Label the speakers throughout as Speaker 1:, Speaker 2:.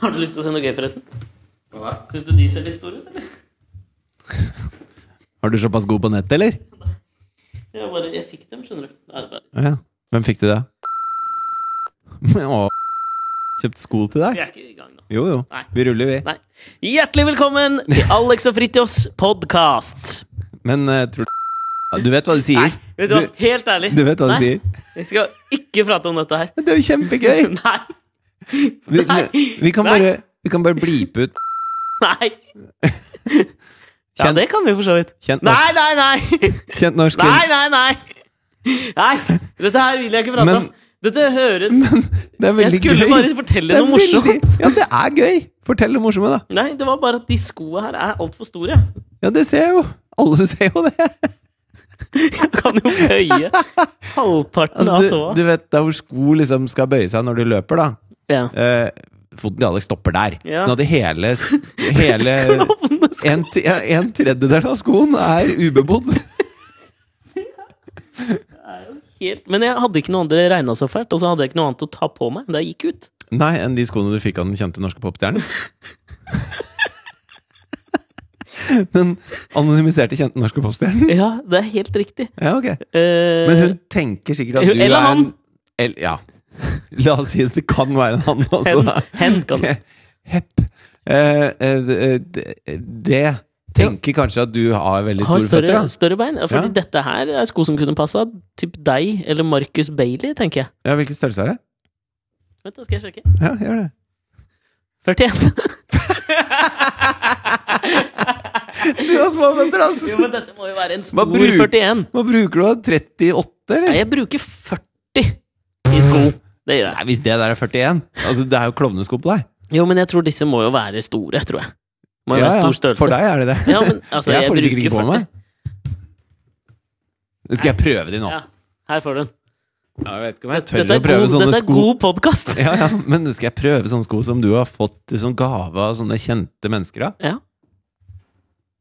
Speaker 1: Har du lyst til å se noe gøy, forresten?
Speaker 2: Hva da?
Speaker 1: Syns du de ser litt store ut, eller?
Speaker 3: Var du såpass god på nettet, eller?
Speaker 1: Jeg bare, jeg fikk dem, skjønner du. Nei, det er bare-
Speaker 3: Å Ja. Hvem fikk du det? Å, kjøpt sko til
Speaker 1: Vi
Speaker 3: deg?
Speaker 1: er ikke i gang nå.
Speaker 3: Jo, jo.
Speaker 1: Nei.
Speaker 3: Vi ruller, vi.
Speaker 1: Nei. Hjertelig velkommen til Alex og Fritjofs podkast.
Speaker 3: Men eh, tror du Ja, Du vet hva de
Speaker 1: Nei,
Speaker 3: sier?
Speaker 1: vet du hva? Helt ærlig.
Speaker 3: du vet hva de
Speaker 1: Nei,
Speaker 3: sier?
Speaker 1: Vi skal ikke prate om dette her.
Speaker 3: Det er jo kjempegøy!
Speaker 1: Nei.
Speaker 3: Vi,
Speaker 1: Nei.
Speaker 3: vi kan
Speaker 1: Nei.
Speaker 3: bare, vi kan bare blipe ut
Speaker 1: Nei. Ja,
Speaker 3: Kjenn-
Speaker 1: det kan vi for så vidt.
Speaker 3: kjent, norsk,
Speaker 1: Nei, nei, nei!
Speaker 3: kjent norsk
Speaker 1: Nei, nei, nei! Nei, Dette her vil jeg ikke prate
Speaker 3: Men-
Speaker 1: om. Dette høres
Speaker 3: Det er
Speaker 1: Jeg
Speaker 3: veldig gøy.
Speaker 1: skulle bare
Speaker 3: Det
Speaker 1: fortelle
Speaker 3: er
Speaker 1: noe morsomt.
Speaker 3: veldig- Ja, det er gøy! Fortell det morsomme, da.
Speaker 1: Nei, det var bare at de skoa her er altfor store.
Speaker 3: Ja, det ser jeg jo. Alle ser jo det.
Speaker 1: Jeg kan jo bøye halvparten
Speaker 3: Altså,
Speaker 1: av
Speaker 3: du,
Speaker 1: tåa.
Speaker 3: du vet der hvor sko liksom skal bøye seg når du løper, da.
Speaker 1: Ja.
Speaker 3: Eh, foten til Alex stopper der.
Speaker 1: Ja.
Speaker 3: Sånn at det hele, hele
Speaker 1: Klovne sko.
Speaker 3: en, t- ja, en tredjedel av skoen er ubebodd.
Speaker 1: Helt. Men jeg hadde ikke noe andre regna så fælt, og så hadde jeg ikke noe annet å ta på meg da jeg gikk ut.
Speaker 3: Nei, enn de skoene du fikk av den kjente norske popstjernen. Den anonymiserte kjente norske popstjernen?
Speaker 1: Ja, det er helt riktig.
Speaker 3: Ja, ok.
Speaker 1: Eh,
Speaker 3: Men hun tenker sikkert at
Speaker 1: hun-
Speaker 3: du
Speaker 1: eller
Speaker 3: er en
Speaker 1: han.
Speaker 3: el, Ja. La oss si at det kan være en han
Speaker 1: hen,
Speaker 3: også. da.
Speaker 1: hen kan
Speaker 3: Hepp. Eh, eh, det- det tenker kanskje at du har veldig
Speaker 1: ha
Speaker 3: store føtter.
Speaker 1: større,
Speaker 3: Da.
Speaker 1: større bein. Ja, Fordi
Speaker 3: Ja.
Speaker 1: dette her er sko som kunne passa typ deg eller Marcus Bailey, tenker jeg.
Speaker 3: Ja, hvilken størrelse er det?
Speaker 1: Vent, da skal jeg sjekke.
Speaker 3: Ja, gjør det.
Speaker 1: 41.
Speaker 3: Du altså, har små føtter, ass!
Speaker 1: Jo, men dette må jo være en stor
Speaker 3: bruk-
Speaker 1: 41.
Speaker 3: Hva bruker du av 38,
Speaker 1: Nei,
Speaker 3: eller?
Speaker 1: jeg bruker 40 i sko. Det gjør jeg.
Speaker 3: Nei, hvis det der er 41 Altså, det er jo klovnesko på deg.
Speaker 1: Jo, men jeg tror disse må jo være store, tror jeg. Må jo
Speaker 3: Ja,
Speaker 1: være
Speaker 3: ja,
Speaker 1: stor størrelse.
Speaker 3: For deg er det det.
Speaker 1: Ja, men altså,
Speaker 3: jeg,
Speaker 1: jeg,
Speaker 3: får det
Speaker 1: bruker
Speaker 3: sikkert ikke på
Speaker 1: 40.
Speaker 3: meg. Nå Skal jeg prøve de nå?
Speaker 1: Ja, her får du den.
Speaker 3: Ja, jeg vet ikke om jeg tør
Speaker 1: Dette
Speaker 3: å
Speaker 1: er
Speaker 3: prøve
Speaker 1: god,
Speaker 3: sånne
Speaker 1: dette er
Speaker 3: sko.
Speaker 1: god podkast.
Speaker 3: Ja, ja, men skal jeg prøve sånne sko som du har fått i sånn gave av sånne kjente mennesker, da?
Speaker 1: Ja.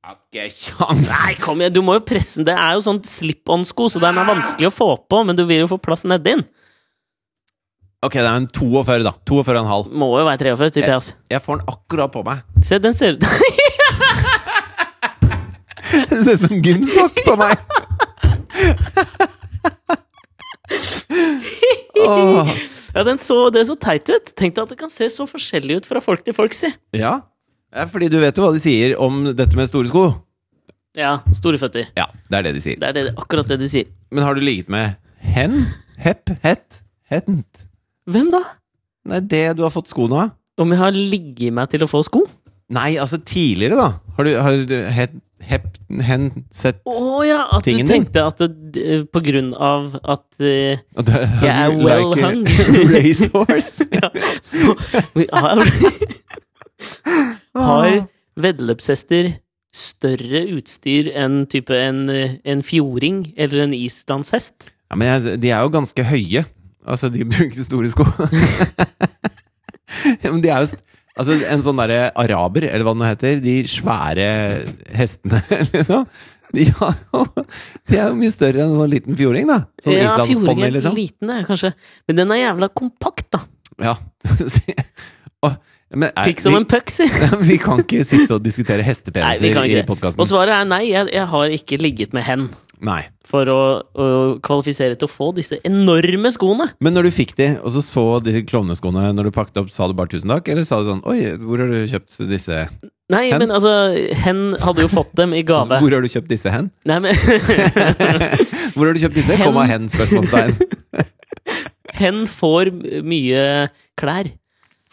Speaker 3: Har ikke kjangs!
Speaker 1: Nei, kom igjen, du må jo presse den. Det er jo sånn slip-on-sko, så den er vanskelig å få på, men du vil jo få plass nedi den.
Speaker 3: Ok, det er en 42, da. 42,5.
Speaker 1: Må jo være 43, tipper jeg, altså.
Speaker 3: Jeg får den akkurat på meg.
Speaker 1: Se, den ser ut
Speaker 3: Det ser ut som en gymsokk på meg! Åh,
Speaker 1: Ja, den så, det så teit ut. Tenk deg at det kan se så forskjellig ut fra folk til folk, si.
Speaker 3: ja. ja, fordi du vet jo hva de sier om dette med store sko.
Speaker 1: Ja, store føtter.
Speaker 3: Ja, det er det de sier.
Speaker 1: Det er det, akkurat det de sier.
Speaker 3: Men har du ligget med hen? Hepp? Hett? Hent?
Speaker 1: Hvem da?
Speaker 3: Nei, det du har fått skoene av?
Speaker 1: Om jeg har ligget meg til å få sko?
Speaker 3: Nei, altså tidligere, da. Har du, har du het, hepp, hen, sett
Speaker 1: Å ja, at
Speaker 3: Tingen
Speaker 1: du
Speaker 3: din.
Speaker 1: tenkte at det, eh, på grunn av at eh,
Speaker 3: Og du-
Speaker 1: Jeg er
Speaker 3: like
Speaker 1: well
Speaker 3: a
Speaker 1: hung.
Speaker 3: Racehorse?
Speaker 1: ja, så, Har, har veddeløpshester større utstyr enn type en, eh, en fjording eller en islandshest?
Speaker 3: Ja, men jeg, de er jo ganske høye. Altså, de bruker store sko. ja, men de er jo st- Altså, en sånn derre araber, eller hva det nå heter, de svære hestene, liksom. De, har jo- de er jo mye større enn en sånn liten fjording, da. Sånn
Speaker 1: ja, fjording
Speaker 3: islandsponny,
Speaker 1: er
Speaker 3: liksom.
Speaker 1: liten, det, kanskje. Men den er jævla kompakt, da.
Speaker 3: Ja. Åh, men er,
Speaker 1: Pikk som
Speaker 3: vi,
Speaker 1: en puck, si.
Speaker 3: vi kan ikke sitte og diskutere
Speaker 1: Nei, vi
Speaker 3: hestepeniser
Speaker 1: kan
Speaker 3: i
Speaker 1: ikke det. Og
Speaker 3: podkasten.
Speaker 1: svaret er nei, jeg, jeg har ikke ligget med hen
Speaker 3: Nei.
Speaker 1: for å, å kvalifisere til å få disse enorme skoene.
Speaker 3: Men når du fikk de, og så så de klovneskoene når du pakket opp, sa du bare 'tusen takk'? Eller sa du sånn 'oi, hvor har du kjøpt disse'?
Speaker 1: Nei,
Speaker 3: Hen?
Speaker 1: men altså, hen hadde jo fått dem i
Speaker 3: Altså,
Speaker 1: gave.
Speaker 3: hvor har du kjøpt disse hen?
Speaker 1: Nei, men
Speaker 3: Hvor har du kjøpt disse?
Speaker 1: Hen.
Speaker 3: Komma hen, spørsmålstegn.
Speaker 1: hen får mye klær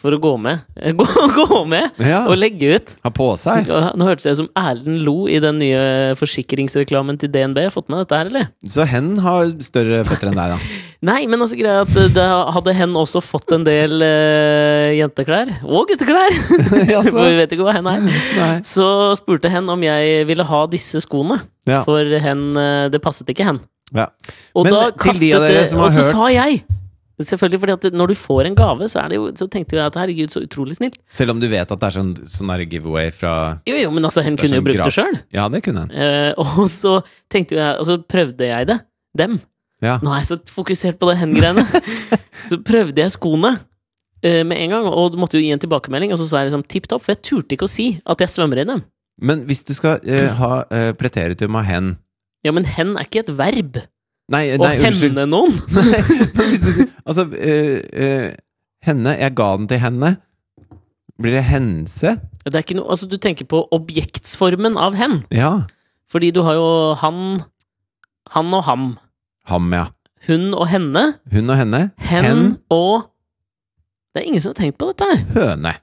Speaker 1: for å gå med. Gå, gå med
Speaker 3: Ja.
Speaker 1: og legge ut.
Speaker 3: Har på seg.
Speaker 1: Ja, Nå hørtes jeg ut som Erlend Lo i den nye forsikringsreklamen til DNB. Har jeg Fått med dette her, eller?
Speaker 3: Så hen har større føtter enn deg, da.
Speaker 1: Nei, men altså greia er at det hadde hen også fått en del eh, jenteklær. Og gutteklær! For vi
Speaker 3: Jaså?
Speaker 1: vet ikke hva hen er.
Speaker 3: Nei.
Speaker 1: Så spurte hen om jeg ville ha disse skoene.
Speaker 3: Ja.
Speaker 1: For hen eh, Det passet ikke hen.
Speaker 3: Ja.
Speaker 1: Og
Speaker 3: Men
Speaker 1: da
Speaker 3: til
Speaker 1: kastet
Speaker 3: de av dere
Speaker 1: det,
Speaker 3: som
Speaker 1: og
Speaker 3: har
Speaker 1: så
Speaker 3: hørt-
Speaker 1: sa jeg Selvfølgelig, fordi at når du får en gave, så, er det jo, så tenkte jeg at herregud, så utrolig snilt.
Speaker 3: Selv om du vet at det er sånn, sånn der giveaway fra
Speaker 1: Jo, jo, men altså, hen
Speaker 3: Det er
Speaker 1: kunne jo
Speaker 3: sånn
Speaker 1: brukt det
Speaker 3: gratis.
Speaker 1: sjøl.
Speaker 3: Ja, det kunne hen.
Speaker 1: og så tenkte jo jeg, og så prøvde jeg det. Dem.
Speaker 3: Ja.
Speaker 1: Nå er jeg så fokusert på det hen-greiene. så prøvde jeg skoene. eh, med en gang, og måtte jo gi en tilbakemelding. Og så sa jeg liksom tipp topp, for jeg turte ikke å si at jeg svømmer i dem.
Speaker 3: Men hvis du skal eh, ha eh, preteritum av hen
Speaker 1: Ja, men hen er ikke et verb.
Speaker 3: Nei,
Speaker 1: Å
Speaker 3: nei unnskyld.
Speaker 1: hende noen.
Speaker 3: Nei, men hvis du, altså eh, eh, Henne. Jeg ga den til henne. Blir det hense?
Speaker 1: Det er ikke noe Altså, du tenker på objektsformen av hen.
Speaker 3: Ja.
Speaker 1: Fordi du har jo han, han og ham.
Speaker 3: Ham, ja.
Speaker 1: Hun og henne.
Speaker 3: Hun og henne.
Speaker 1: Hen,
Speaker 3: Hen.
Speaker 1: og Det er ingen som har tenkt på dette her.
Speaker 3: Høne.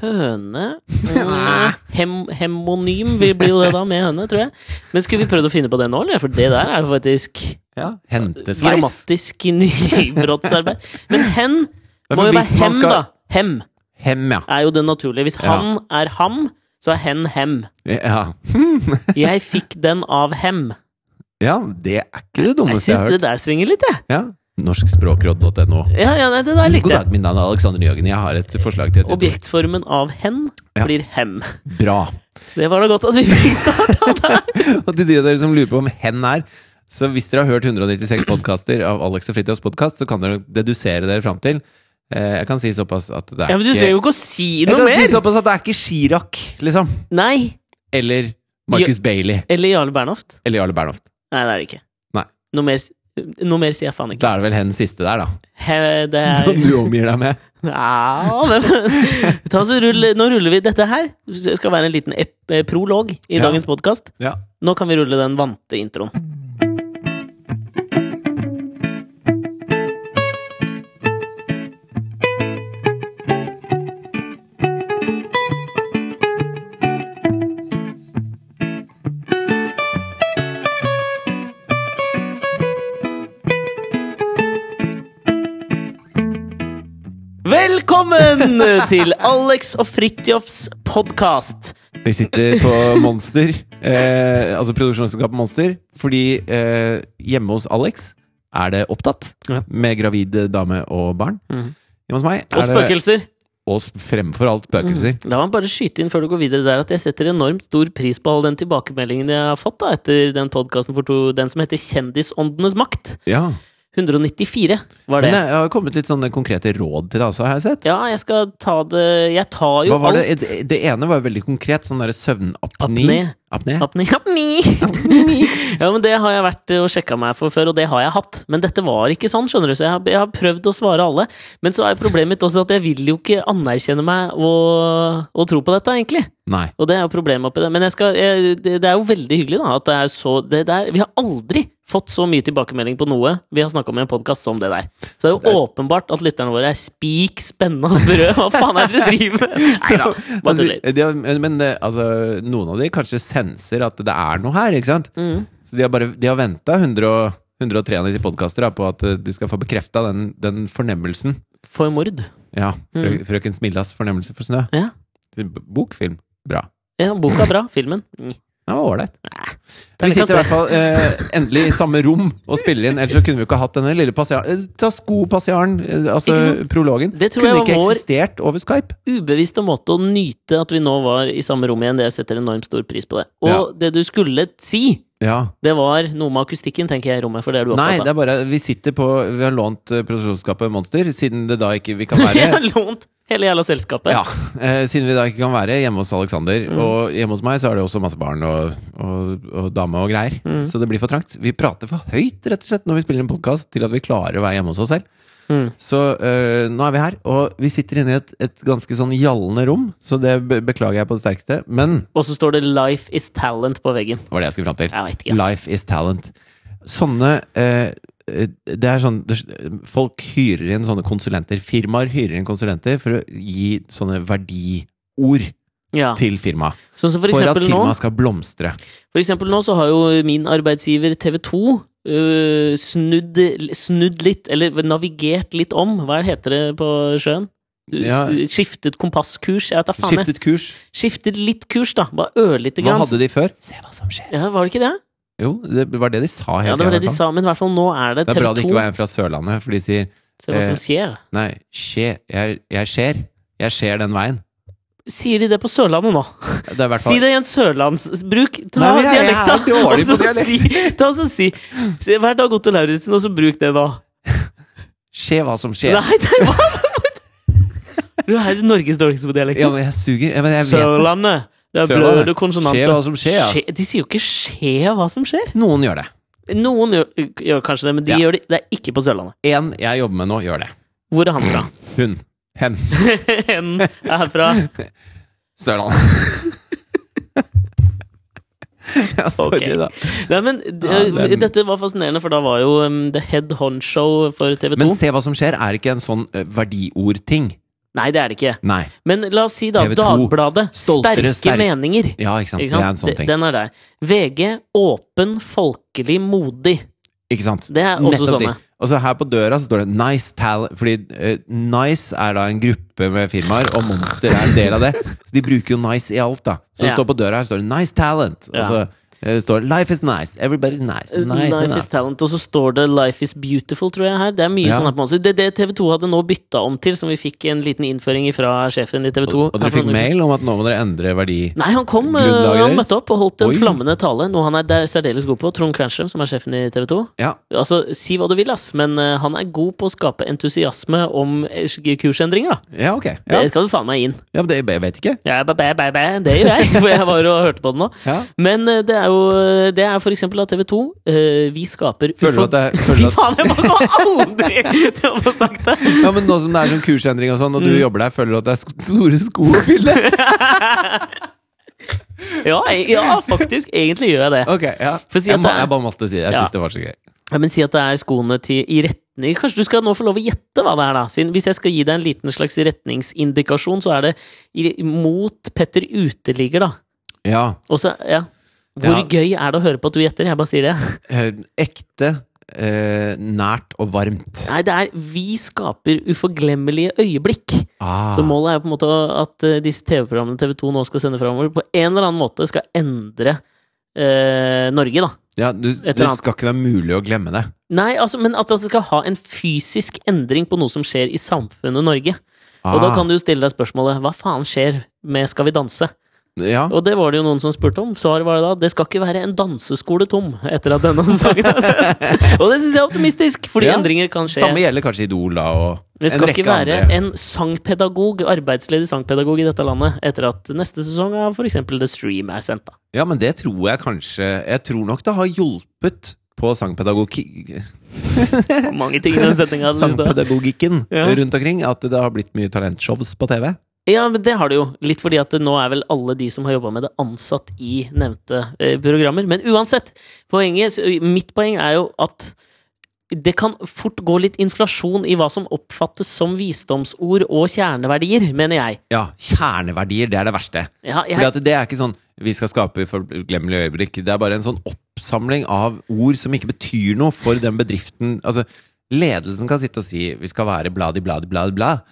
Speaker 1: Høne eh, hem, Hemonym vil- blir jo det da, med høne, tror jeg. Men skulle vi prøvd å finne på det nå, eller? For det der er jo faktisk
Speaker 3: Ja. Hentesveis.
Speaker 1: grammatisk nybrottsarbeid. Men hen
Speaker 3: Ja,
Speaker 1: må
Speaker 3: for
Speaker 1: jo
Speaker 3: hvis
Speaker 1: være
Speaker 3: man
Speaker 1: hem,
Speaker 3: skal-
Speaker 1: da. Hem
Speaker 3: Hem, ja.
Speaker 1: er jo det naturlige. Hvis
Speaker 3: Ja.
Speaker 1: han er ham, så er hen hem.
Speaker 3: ja.
Speaker 1: Jeg fikk den av hem.
Speaker 3: Ja, det er ikke det
Speaker 1: Jeg
Speaker 3: dummeste jeg
Speaker 1: syns
Speaker 3: har
Speaker 1: det
Speaker 3: hørt.
Speaker 1: der svinger litt, jeg.
Speaker 3: Ja. Norskspråkråd.no.
Speaker 1: Ja, ja, nei, det der
Speaker 3: God
Speaker 1: likte jeg.
Speaker 3: dag, mitt navn er Alexander Nyhagen. Jeg har et forslag til et nytt
Speaker 1: Objektformen av hen
Speaker 3: Ja.
Speaker 1: blir hem.
Speaker 3: ord. Bra.
Speaker 1: Det var da godt at vi fikk starta der.
Speaker 3: Og til de av dere som lurer på om hen er Så hvis dere har hørt 196 podkaster av Alex og Fritjofs podkast, så kan dere dedusere dere fram til eh, Jeg kan si såpass at det er
Speaker 1: Ja, men du
Speaker 3: ikke
Speaker 1: trenger jo ikke å si
Speaker 3: Jeg
Speaker 1: noe
Speaker 3: kan si
Speaker 1: mer!
Speaker 3: såpass at det er ikke Chirac, liksom.
Speaker 1: Nei.
Speaker 3: Eller Marcus Bailey.
Speaker 1: Eller Jarle Bernhoft?
Speaker 3: Eller Jarle Bernhoft.
Speaker 1: Nei, det er det ikke.
Speaker 3: Nei.
Speaker 1: Noe mer, noe mer sier jeg faen ikke.
Speaker 3: Da er det vel hen siste der, da.
Speaker 1: He, det er
Speaker 3: Som du omgir deg med.
Speaker 1: Ja, men Ta så rull, Nå ruller vi dette her. Det skal være en liten ep, eh, prolog i
Speaker 3: Ja.
Speaker 1: dagens podkast.
Speaker 3: Ja.
Speaker 1: Nå kan vi rulle den vante introen. Velkommen til Alex og Fridtjofs podkast.
Speaker 3: Vi sitter på Monster, eh, altså produksjonsselskapet Monster, fordi eh, hjemme hos Alex er det opptatt
Speaker 1: Ja.
Speaker 3: med gravid dame og barn.
Speaker 1: Mhm.
Speaker 3: Hjemme hos meg
Speaker 1: Og Mm.
Speaker 3: Mm. er det
Speaker 1: spøkelser.
Speaker 3: Og s- fremfor alt spøkelser.
Speaker 1: La meg bare skyte inn før du går videre der at jeg setter enormt stor pris på all den tilbakemeldingen jeg har fått da, etter den podkasten for to, den som heter Kjendisåndenes makt.
Speaker 3: Ja.
Speaker 1: 194 var det.
Speaker 3: Men eh, jeg har kommet litt sånne konkrete råd til deg også, har jeg sett.
Speaker 1: Ja, jeg skal ta det Jeg tar jo
Speaker 3: Hva var
Speaker 1: alt.
Speaker 3: det? Det, det ene var jo veldig konkret, sånn derre søvnapné.
Speaker 1: Apné.
Speaker 3: Apné?
Speaker 1: Apni, apni. ja, men det har jeg vært og sjekka meg for før, og det har jeg hatt. Men dette var ikke sånn, skjønner du, så jeg har, jeg har prøvd å svare alle. Men så er problemet mitt også at jeg vil jo ikke anerkjenne meg og, og tro på dette, egentlig.
Speaker 3: Nei.
Speaker 1: Og det er jo problemet oppi det. Men jeg skal, jeg, det, det er jo veldig hyggelig da, at det er så det, det er, Vi har aldri fått så mye tilbakemelding på noe vi har snakka om i en podkast som det der. Så det er jo åpenbart at lytterne våre er spik spennende brød. Hva faen er det dere driver med? Nei da, bare
Speaker 3: Altså,
Speaker 1: tuller.
Speaker 3: de har, men eh, altså, noen av de kanskje senser at det er noe her, ikke sant?
Speaker 1: Mm.
Speaker 3: Så de har, bare- de har venta 193 podkaster på at eh, de skal få bekrefta den, den fornemmelsen.
Speaker 1: For mord.
Speaker 3: Ja, frø,
Speaker 1: Mm.
Speaker 3: Frøken Smillas fornemmelse for snø.
Speaker 1: Ja.
Speaker 3: Til b- Bokfilm. Bra.
Speaker 1: ja, boka er bra. Filmen. Mm.
Speaker 3: Det var ålreit. Vi
Speaker 1: Terningkast
Speaker 3: sitter i
Speaker 1: tre.
Speaker 3: hvert fall eh, endelig i samme rom og spiller inn, ellers så kunne vi ikke hatt denne lille passiaren Ta skopassiaren, eh,
Speaker 1: Ikke
Speaker 3: altså prologen.
Speaker 1: Det tror
Speaker 3: kunne
Speaker 1: jeg var
Speaker 3: ikke
Speaker 1: vår-
Speaker 3: eksistert over Skype.
Speaker 1: ubevisst og måte å nyte at vi nå var i samme rom igjen. Det jeg setter enormt stor pris på det. Og
Speaker 3: Ja.
Speaker 1: det du skulle si,
Speaker 3: Ja.
Speaker 1: det var noe med akustikken, tenker jeg, i rommet, for det er du
Speaker 3: Nei,
Speaker 1: opptatt av.
Speaker 3: det er bare Vi sitter på Vi har lånt eh, produksjonsskapet Monster, siden det da ikke vi kan
Speaker 1: Jeg har
Speaker 3: være
Speaker 1: lånt hele jævla selskapet.
Speaker 3: ja, eh, siden vi da ikke kan være hjemme hos Alexander.
Speaker 1: Mm.
Speaker 3: Og hjemme hos meg så er det også masse barn og, og, og dame og greier.
Speaker 1: Mm.
Speaker 3: Så det blir for trangt. Vi prater for høyt rett og slett når vi spiller en podkast, til at vi klarer å være hjemme hos oss selv.
Speaker 1: Mm.
Speaker 3: Så eh, nå er vi her, og vi sitter inne i et, et ganske sånn gjallende rom, så det be beklager jeg på det sterkeste. Men
Speaker 1: Og så står det 'Life is talent' på veggen.
Speaker 3: det var det jeg skulle fram til.
Speaker 1: Jeg vet ikke. ass.
Speaker 3: Life is talent. Sånne eh, eh, Det er sånn det- Folk hyrer inn sånne konsulenter. Firmaer hyrer inn konsulenter for å gi sånne verdiord
Speaker 1: Ja.
Speaker 3: til firmaet.
Speaker 1: Sånn som for
Speaker 3: For, at
Speaker 1: eksempel, nå,
Speaker 3: firmaet skal blomstre.
Speaker 1: for eksempel nå så har jo min arbeidsgiver TV2 øh, snudd, snudd litt, eller navigert litt om, hva heter det på sjøen? Du, s-
Speaker 3: Ja.
Speaker 1: Skiftet kompasskurs? Jeg vet da faen. jeg.
Speaker 3: Skiftet kurs.
Speaker 1: Skiftet litt kurs, da. Bare ørlite
Speaker 3: Hva
Speaker 1: grann.
Speaker 3: hadde de før? Se hva som skjer.
Speaker 1: Ja, var det ikke det?
Speaker 3: Jo, det var det de sa. hele
Speaker 1: Ja, det var
Speaker 3: tiden,
Speaker 1: det
Speaker 3: i
Speaker 1: de
Speaker 3: hvert fall.
Speaker 1: sa, men i hvert fall nå er det
Speaker 3: det er bra det ikke var
Speaker 1: TV2.
Speaker 3: en fra Sørlandet, for de sier
Speaker 1: Se hva som
Speaker 3: eh,
Speaker 1: skjer.
Speaker 3: nei, skje, jeg, jeg skjer. Jeg skjer den veien.
Speaker 1: Sier de det på Sørlandet nå?
Speaker 3: Det er i hvert fall
Speaker 1: Si det i en sørlandsbruk. Ta
Speaker 3: Nei, men jeg- jeg
Speaker 1: dialekta!
Speaker 3: er dårlig på
Speaker 1: og så si, ta og så si, si Vær Dag Otto Lauritzen, og så bruk det, da.
Speaker 3: Skje hva som skjer.
Speaker 1: Nei, det var Du er Norges dårligste på dialekt.
Speaker 3: Ja, men jeg suger. Jeg, men jeg vet det.
Speaker 1: Sørlandet. Det er
Speaker 3: Sørlandet.
Speaker 1: bløde konsonanter.
Speaker 3: Skje hva som skjer, ja.
Speaker 1: Skje- De sier jo ikke 'skje hva som skjer'.
Speaker 3: Noen gjør det.
Speaker 1: Noen gjør, gjør kanskje det, men de
Speaker 3: Ja.
Speaker 1: gjør det, det er ikke på Sørlandet.
Speaker 3: En jeg jobber med nå, gjør det.
Speaker 1: Hvor er han fra?
Speaker 3: Hun. Hen.
Speaker 1: Hen er herfra.
Speaker 3: Størland. ja, sorry,
Speaker 1: Ok.
Speaker 3: da.
Speaker 1: Nei, men d-
Speaker 3: Ja, den-
Speaker 1: Dette var fascinerende, for da var jo um, The Head Honcho for TV2.
Speaker 3: Men se hva som skjer er ikke en sånn eh, verdiordting.
Speaker 1: Nei, det er det ikke.
Speaker 3: Nei.
Speaker 1: Men la oss si da
Speaker 3: TV2,
Speaker 1: Dagbladet.
Speaker 3: stoltere,
Speaker 1: Sterke
Speaker 3: sterk-
Speaker 1: meninger.
Speaker 3: Ja, ikke sant.
Speaker 1: Ikke sant?
Speaker 3: Det er en sånn
Speaker 1: De-
Speaker 3: ting.
Speaker 1: Den er der. VG. Åpen, folkelig, modig.
Speaker 3: Ikke sant?
Speaker 1: Det er også
Speaker 3: Nettopp
Speaker 1: sånne.
Speaker 3: det. Og så her på døra så står det Nice Talent Fordi eh, Nice er da en gruppe med firmaer, og Monster er en del av det. Så de bruker jo Nice i alt, da. Så det
Speaker 1: Ja.
Speaker 3: står på døra her står det Nice Talent. Og
Speaker 1: Ja.
Speaker 3: så eh, står det Life is nice. Everybody's nice. Nice
Speaker 1: Eh, Life is
Speaker 3: enough.
Speaker 1: talent, og så står det Life is beautiful, tror jeg her. Det er mye
Speaker 3: Ja.
Speaker 1: sånn her på måneder. Det er det TV2 hadde nå bytta om til, som vi fikk en liten innføring fra sjefen i TV2.
Speaker 3: Og dere fikk mail om at nå må dere endre verdi.
Speaker 1: Nei, han kom, øh,
Speaker 3: Grunnlaget
Speaker 1: han
Speaker 3: deres?
Speaker 1: møtte opp og holdt en
Speaker 3: Oi.
Speaker 1: flammende tale, noe han er der særdeles god på. Trond Kranstrøm, som er sjefen i TV2.
Speaker 3: Ja.
Speaker 1: Altså, si hva du vil, ass, men øh, han er god på å skape entusiasme om eh, kursendringer, da.
Speaker 3: Ja, ok. Ja,
Speaker 1: Det skal du faen meg inn.
Speaker 3: ja men det, jeg vet ikke.
Speaker 1: Ja, bæ, bæ, bæ, bæ. Det gjør jeg, for jeg var og hørte på den nå.
Speaker 3: Ja.
Speaker 1: Men eh, det er jo Det er for eksempel av TV 2. vi skaper
Speaker 3: Føler du
Speaker 1: ufor-
Speaker 3: at det er-
Speaker 1: Fy
Speaker 3: føler du at,
Speaker 1: faen, jeg kommer aldri til å få sagt det!
Speaker 3: ja, men nå som det er sånn kursendring og sånn, og du
Speaker 1: Mm.
Speaker 3: jobber der, føler du at det er sk- store sko å fylle?
Speaker 1: Ja, jeg- ja, faktisk. Egentlig gjør jeg det.
Speaker 3: Ok, ja.
Speaker 1: For å si
Speaker 3: jeg,
Speaker 1: at
Speaker 3: må,
Speaker 1: det er-
Speaker 3: jeg bare måtte si det. Jeg
Speaker 1: Ja.
Speaker 3: synes det var så gøy.
Speaker 1: Ja, Men si at det er skoene til i retning Kanskje du skal nå få lov å gjette hva det er, da? Siden hvis jeg skal gi deg en liten slags retningsindikasjon, så er det i- mot Petter Uteligger, da.
Speaker 3: Ja.
Speaker 1: Og så, ja. Hvor
Speaker 3: Ja.
Speaker 1: gøy er det å høre på at du gjetter? Jeg bare sier det.
Speaker 3: Eh, ekte, eh, nært og varmt.
Speaker 1: Nei, det er Vi skaper uforglemmelige øyeblikk.
Speaker 3: Ah.
Speaker 1: Så målet er jo på en måte at eh, disse TV-programmene TV2 nå skal sende framover, på en eller annen måte skal endre eh, Norge, da.
Speaker 3: Ja, du,
Speaker 1: eller
Speaker 3: det
Speaker 1: annet.
Speaker 3: skal ikke være mulig å glemme det.
Speaker 1: Nei, altså, men at det skal ha en fysisk endring på noe som skjer i samfunnet Norge. Og da
Speaker 3: Ah.
Speaker 1: kan du jo stille deg spørsmålet hva faen skjer med Skal vi danse?
Speaker 3: Ah. Ja.
Speaker 1: Og det var det jo noen som spurte om. Svaret var da det skal ikke være en danseskole tom etter at denne sesongen er sendt. Og det syns jeg er optimistisk, fordi
Speaker 3: Ja.
Speaker 1: endringer kan skje.
Speaker 3: Samme gjelder kanskje Idol da, og
Speaker 1: Det skal
Speaker 3: en
Speaker 1: ikke
Speaker 3: rekke
Speaker 1: være
Speaker 3: andre.
Speaker 1: en sangpedagog, arbeidsledig sangpedagog i dette landet etter at neste sesong av f.eks. The Stream er sendt. da.
Speaker 3: Ja, men det tror jeg kanskje Jeg tror nok det har hjulpet på sangpedagogikk
Speaker 1: Det var Mange ting i den setninga.
Speaker 3: sangpedagogikken
Speaker 1: Ja.
Speaker 3: rundt omkring. At det har blitt mye talentshows på TV.
Speaker 1: Ja, men det har det jo. Litt fordi at det nå er vel alle de som har jobba med det, ansatt i nevnte eh, programmer. Men uansett, poenget, så- mitt poeng er jo at det kan fort gå litt inflasjon i hva som oppfattes som visdomsord og kjerneverdier, mener jeg.
Speaker 3: Ja, kjerneverdier, det er det verste.
Speaker 1: Ja, jeg
Speaker 3: Fordi at det er ikke sånn vi skal skape forglemmelige øyeblikk. Det er bare en sånn oppsamling av ord som ikke betyr noe for den bedriften. Altså, ledelsen kan sitte og si vi skal være bladi, bladi, bladi, bla.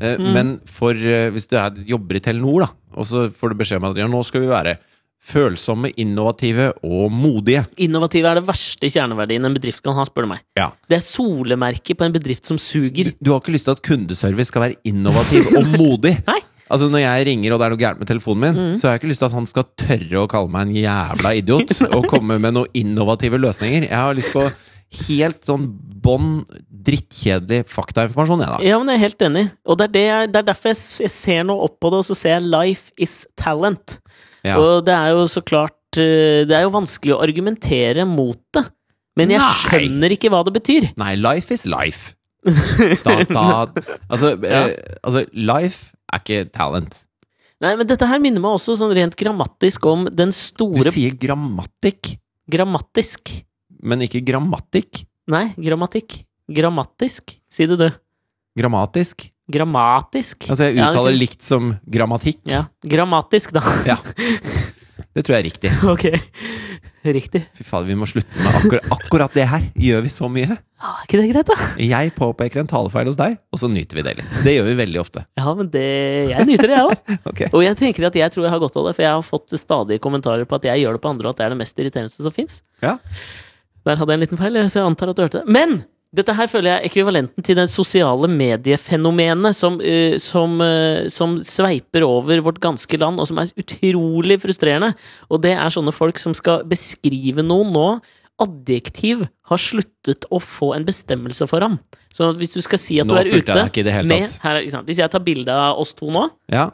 Speaker 3: Eh, Men for, eh, hvis du er, jobber i Telenor, da, og så får du beskjed om at ja, nå skal vi være følsomme, innovative og modige.
Speaker 1: Innovative er det verste kjerneverdien en bedrift kan ha, spør du meg.
Speaker 3: Ja.
Speaker 1: Det er solemerket på en bedrift som
Speaker 3: Du,
Speaker 1: suger.
Speaker 3: du har ikke lyst til at kundeservice skal være innovativ og modig.
Speaker 1: Nei. Mm.
Speaker 3: Altså Når jeg ringer og det er noe gærent med telefonen min, så har jeg ikke lyst til at han skal tørre å kalle meg en jævla idiot og komme med noen innovative løsninger. Jeg har lyst på helt sånn bånn drittkjedelig faktainformasjon, jeg, da.
Speaker 1: Ja, men jeg er helt enig. Og det er, det jeg, det er derfor jeg, s- jeg ser nå opp på det, og så ser jeg 'Life is talent'.
Speaker 3: Ja.
Speaker 1: Og det er jo så klart eh, Det er jo vanskelig å argumentere mot det. Men jeg
Speaker 3: Nei.
Speaker 1: skjønner ikke hva det betyr.
Speaker 3: Nei, life is life. Da, da, altså,
Speaker 1: Ja.
Speaker 3: eh, altså, life er ikke talent.
Speaker 1: Nei, men dette her minner meg også sånn rent grammatisk om den
Speaker 3: Du
Speaker 1: store
Speaker 3: sier grammatikk,
Speaker 1: Grammatisk.
Speaker 3: men ikke grammatikk.
Speaker 1: Nei, grammatikk. Grammatisk. Si det, du.
Speaker 3: Grammatisk.
Speaker 1: Grammatisk.
Speaker 3: Altså, jeg
Speaker 1: Ja, det
Speaker 3: uttaler
Speaker 1: kunne-
Speaker 3: likt som grammatikk.
Speaker 1: Ja. Grammatisk, da.
Speaker 3: Ja. Det tror jeg er riktig.
Speaker 1: Ok. Riktig.
Speaker 3: Fy faen, vi må slutte med akkurat, akkurat det her. Gjør vi så mye?
Speaker 1: Ja, Ah, er ikke det greit, da?
Speaker 3: Jeg påpeker en talefeil hos deg, og så nyter vi det litt. Det gjør vi veldig ofte.
Speaker 1: Ja, men det Jeg nyter det, jeg òg.
Speaker 3: Ok.
Speaker 1: Og jeg tenker at jeg tror jeg har godt av det, for jeg har fått stadige kommentarer på at jeg gjør det på andre, og at det er det mest irriterende som fins.
Speaker 3: Ja.
Speaker 1: Der hadde jeg en liten feil, så jeg antar at du hørte det. Men! Dette her føler jeg er ekvivalenten til det sosiale mediefenomenet som, eh, som, eh, som sveiper over vårt ganske land, og som er utrolig frustrerende. Og det er sånne folk som skal beskrive noen nå adjektiv har sluttet å få en bestemmelse for ham. Så hvis du skal si at
Speaker 3: Nå
Speaker 1: du er
Speaker 3: fulgte jeg
Speaker 1: ute
Speaker 3: deg ikke i det hele
Speaker 1: med
Speaker 3: tatt.
Speaker 1: her, er- ikke sant? Hvis jeg tar bilde av oss to nå
Speaker 3: Ja,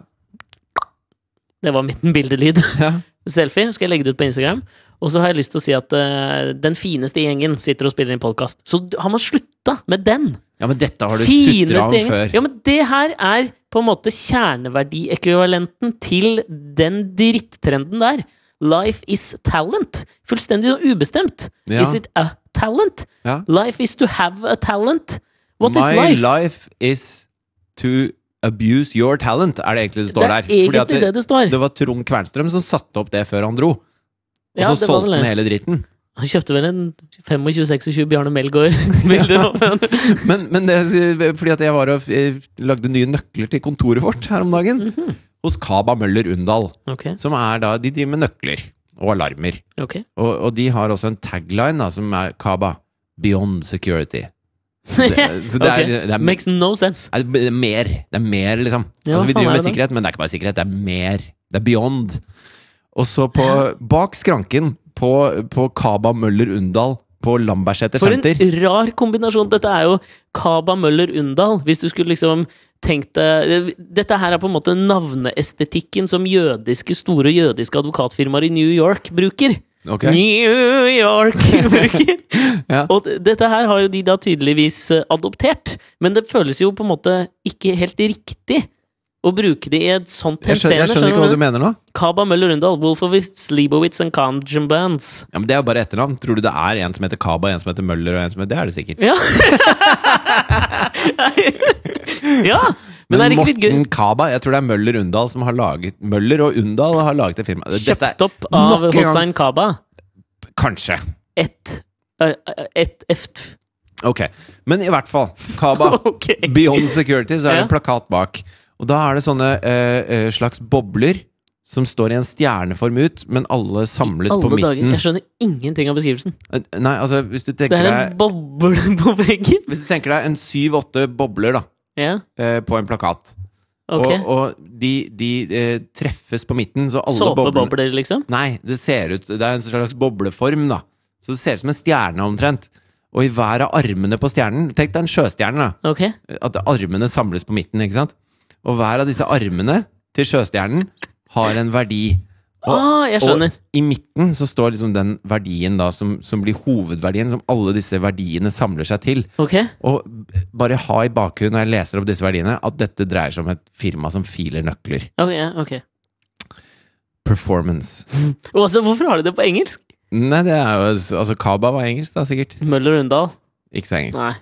Speaker 1: Det var mitt bildelyd.
Speaker 3: ja.
Speaker 1: Selfie. Skal jeg legge det ut på Instagram. Og så har jeg lyst til å si at eh, den fineste gjengen sitter og spiller inn podkast. Så d- har man slutta med den!
Speaker 3: ja, men dette har du
Speaker 1: Fineste
Speaker 3: sutra om
Speaker 1: gjengen.
Speaker 3: før.
Speaker 1: Ja, men det her er på en måte kjerneverdiekvivalenten til den drittrenden der. Life is talent. Fullstendig sånn ubestemt.
Speaker 3: Ja.
Speaker 1: Is it a talent?
Speaker 3: Ja.
Speaker 1: Life is to have a talent. What
Speaker 3: My
Speaker 1: is life?
Speaker 3: is to abuse your talent, er det egentlig det står der.
Speaker 1: det er
Speaker 3: Fordi at
Speaker 1: egentlig det det står.
Speaker 3: det var Trond Kvernstrøm som satte opp det før han dro. Og
Speaker 1: Ja,
Speaker 3: så
Speaker 1: det var
Speaker 3: solgte
Speaker 1: vel
Speaker 3: han
Speaker 1: det.
Speaker 3: hele dritten.
Speaker 1: Han kjøpte vel en 25-26 Bjarne Melgaard-bilder nå. men-
Speaker 3: Men, men det, fordi at jeg var og eh, lagde nye nøkler til kontoret vårt her om dagen.
Speaker 1: Mhm.
Speaker 3: Hos Kaba Møller Undal.
Speaker 1: Ok,
Speaker 3: Som er da De driver med nøkler og alarmer.
Speaker 1: ok.
Speaker 3: Og, og de har også en tagline da, som er Kaba. Beyond security. Så det, så det,
Speaker 1: Ok.
Speaker 3: er, det, er,
Speaker 1: Makes no sense.
Speaker 3: Nei, Det er mer. Det er mer, liksom.
Speaker 1: Ja,
Speaker 3: altså, vi
Speaker 1: hva faen
Speaker 3: driver
Speaker 1: er
Speaker 3: med
Speaker 1: det da?
Speaker 3: sikkerhet, men det er ikke bare sikkerhet. Det er mer. Det er beyond. Og så på, bak skranken på, på Kaba Møller Undal på Lambertseter
Speaker 1: For en
Speaker 3: senter
Speaker 1: rar kombinasjon! Dette er jo Kaba Møller Undal. Hvis du skulle liksom tenkt deg Dette her er på en måte navneestetikken som jødiske, store jødiske advokatfirmaer i New York bruker.
Speaker 3: Ok.
Speaker 1: New York bruker!
Speaker 3: Ja.
Speaker 1: Og d- dette her har jo de da tydeligvis eh, adoptert. Men det føles jo på en måte ikke helt riktig å bruke det i et sånt
Speaker 3: Jeg skjønner, jeg skjønner ikke hva du mener nå.
Speaker 1: Kaba Møller Undal, Wolfowitz, Leibowitz and Kanjambans.
Speaker 3: Ja, men Det er jo bare etternavn. Tror du det er en som heter Kaba, en som heter Møller og en som heter Det er det sikkert.
Speaker 1: Ja. ja. Men, er det ikke litt
Speaker 3: Morten
Speaker 1: gøy?
Speaker 3: Kaba, jeg tror det er Møller Undal som har laget Møller og Undal har laget det firmaet. Dette er
Speaker 1: Kjøpt opp av
Speaker 3: nok en gang-
Speaker 1: Hossein Kaba.
Speaker 3: Kanskje.
Speaker 1: Et eh, Et eft.
Speaker 3: Ok. Men i hvert fall. Kaba.
Speaker 1: Ok.
Speaker 3: Beyond Security, så er det
Speaker 1: Ja.
Speaker 3: en plakat bak. Og da er det sånne eh, eh, slags bobler som står i en stjerneform ut, men alle samles på
Speaker 1: Alle dager.
Speaker 3: midten.
Speaker 1: Jeg skjønner ingenting av beskrivelsen.
Speaker 3: Eh, Nei, altså, hvis du
Speaker 1: Det
Speaker 3: tenker
Speaker 1: er en
Speaker 3: deg
Speaker 1: boble på veggen.
Speaker 3: Hvis du tenker deg en syv-åtte bobler, da,
Speaker 1: Ja,
Speaker 3: eh, på en plakat.
Speaker 1: ok.
Speaker 3: Og, og de, de eh, treffes på midten, så alle boblene
Speaker 1: Såpebobler, liksom?
Speaker 3: Nei, det ser ut Det er en slags bobleform, da. Så det ser ut som en stjerne, omtrent. Og i hver av armene på stjernen Tenk deg en sjøstjerne, da.
Speaker 1: Ok.
Speaker 3: at armene samles på midten, ikke sant? Og hver av disse armene til sjøstjernen har en verdi.
Speaker 1: Å, Ah, jeg skjønner.
Speaker 3: Og i midten så står liksom den verdien da som, som blir hovedverdien, som alle disse verdiene samler seg til.
Speaker 1: Ok.
Speaker 3: Og b- bare ha i bakhuet når jeg leser opp disse verdiene, at dette dreier seg om et firma som filer nøkler.
Speaker 1: Ok, ja, ok.
Speaker 3: Performance.
Speaker 1: Og altså, hvorfor har de det på engelsk?
Speaker 3: Nei, det er jo Altså, Kaba var engelsk, da, sikkert.
Speaker 1: Møller Undal?
Speaker 3: Ikke så engelsk.
Speaker 1: Nei.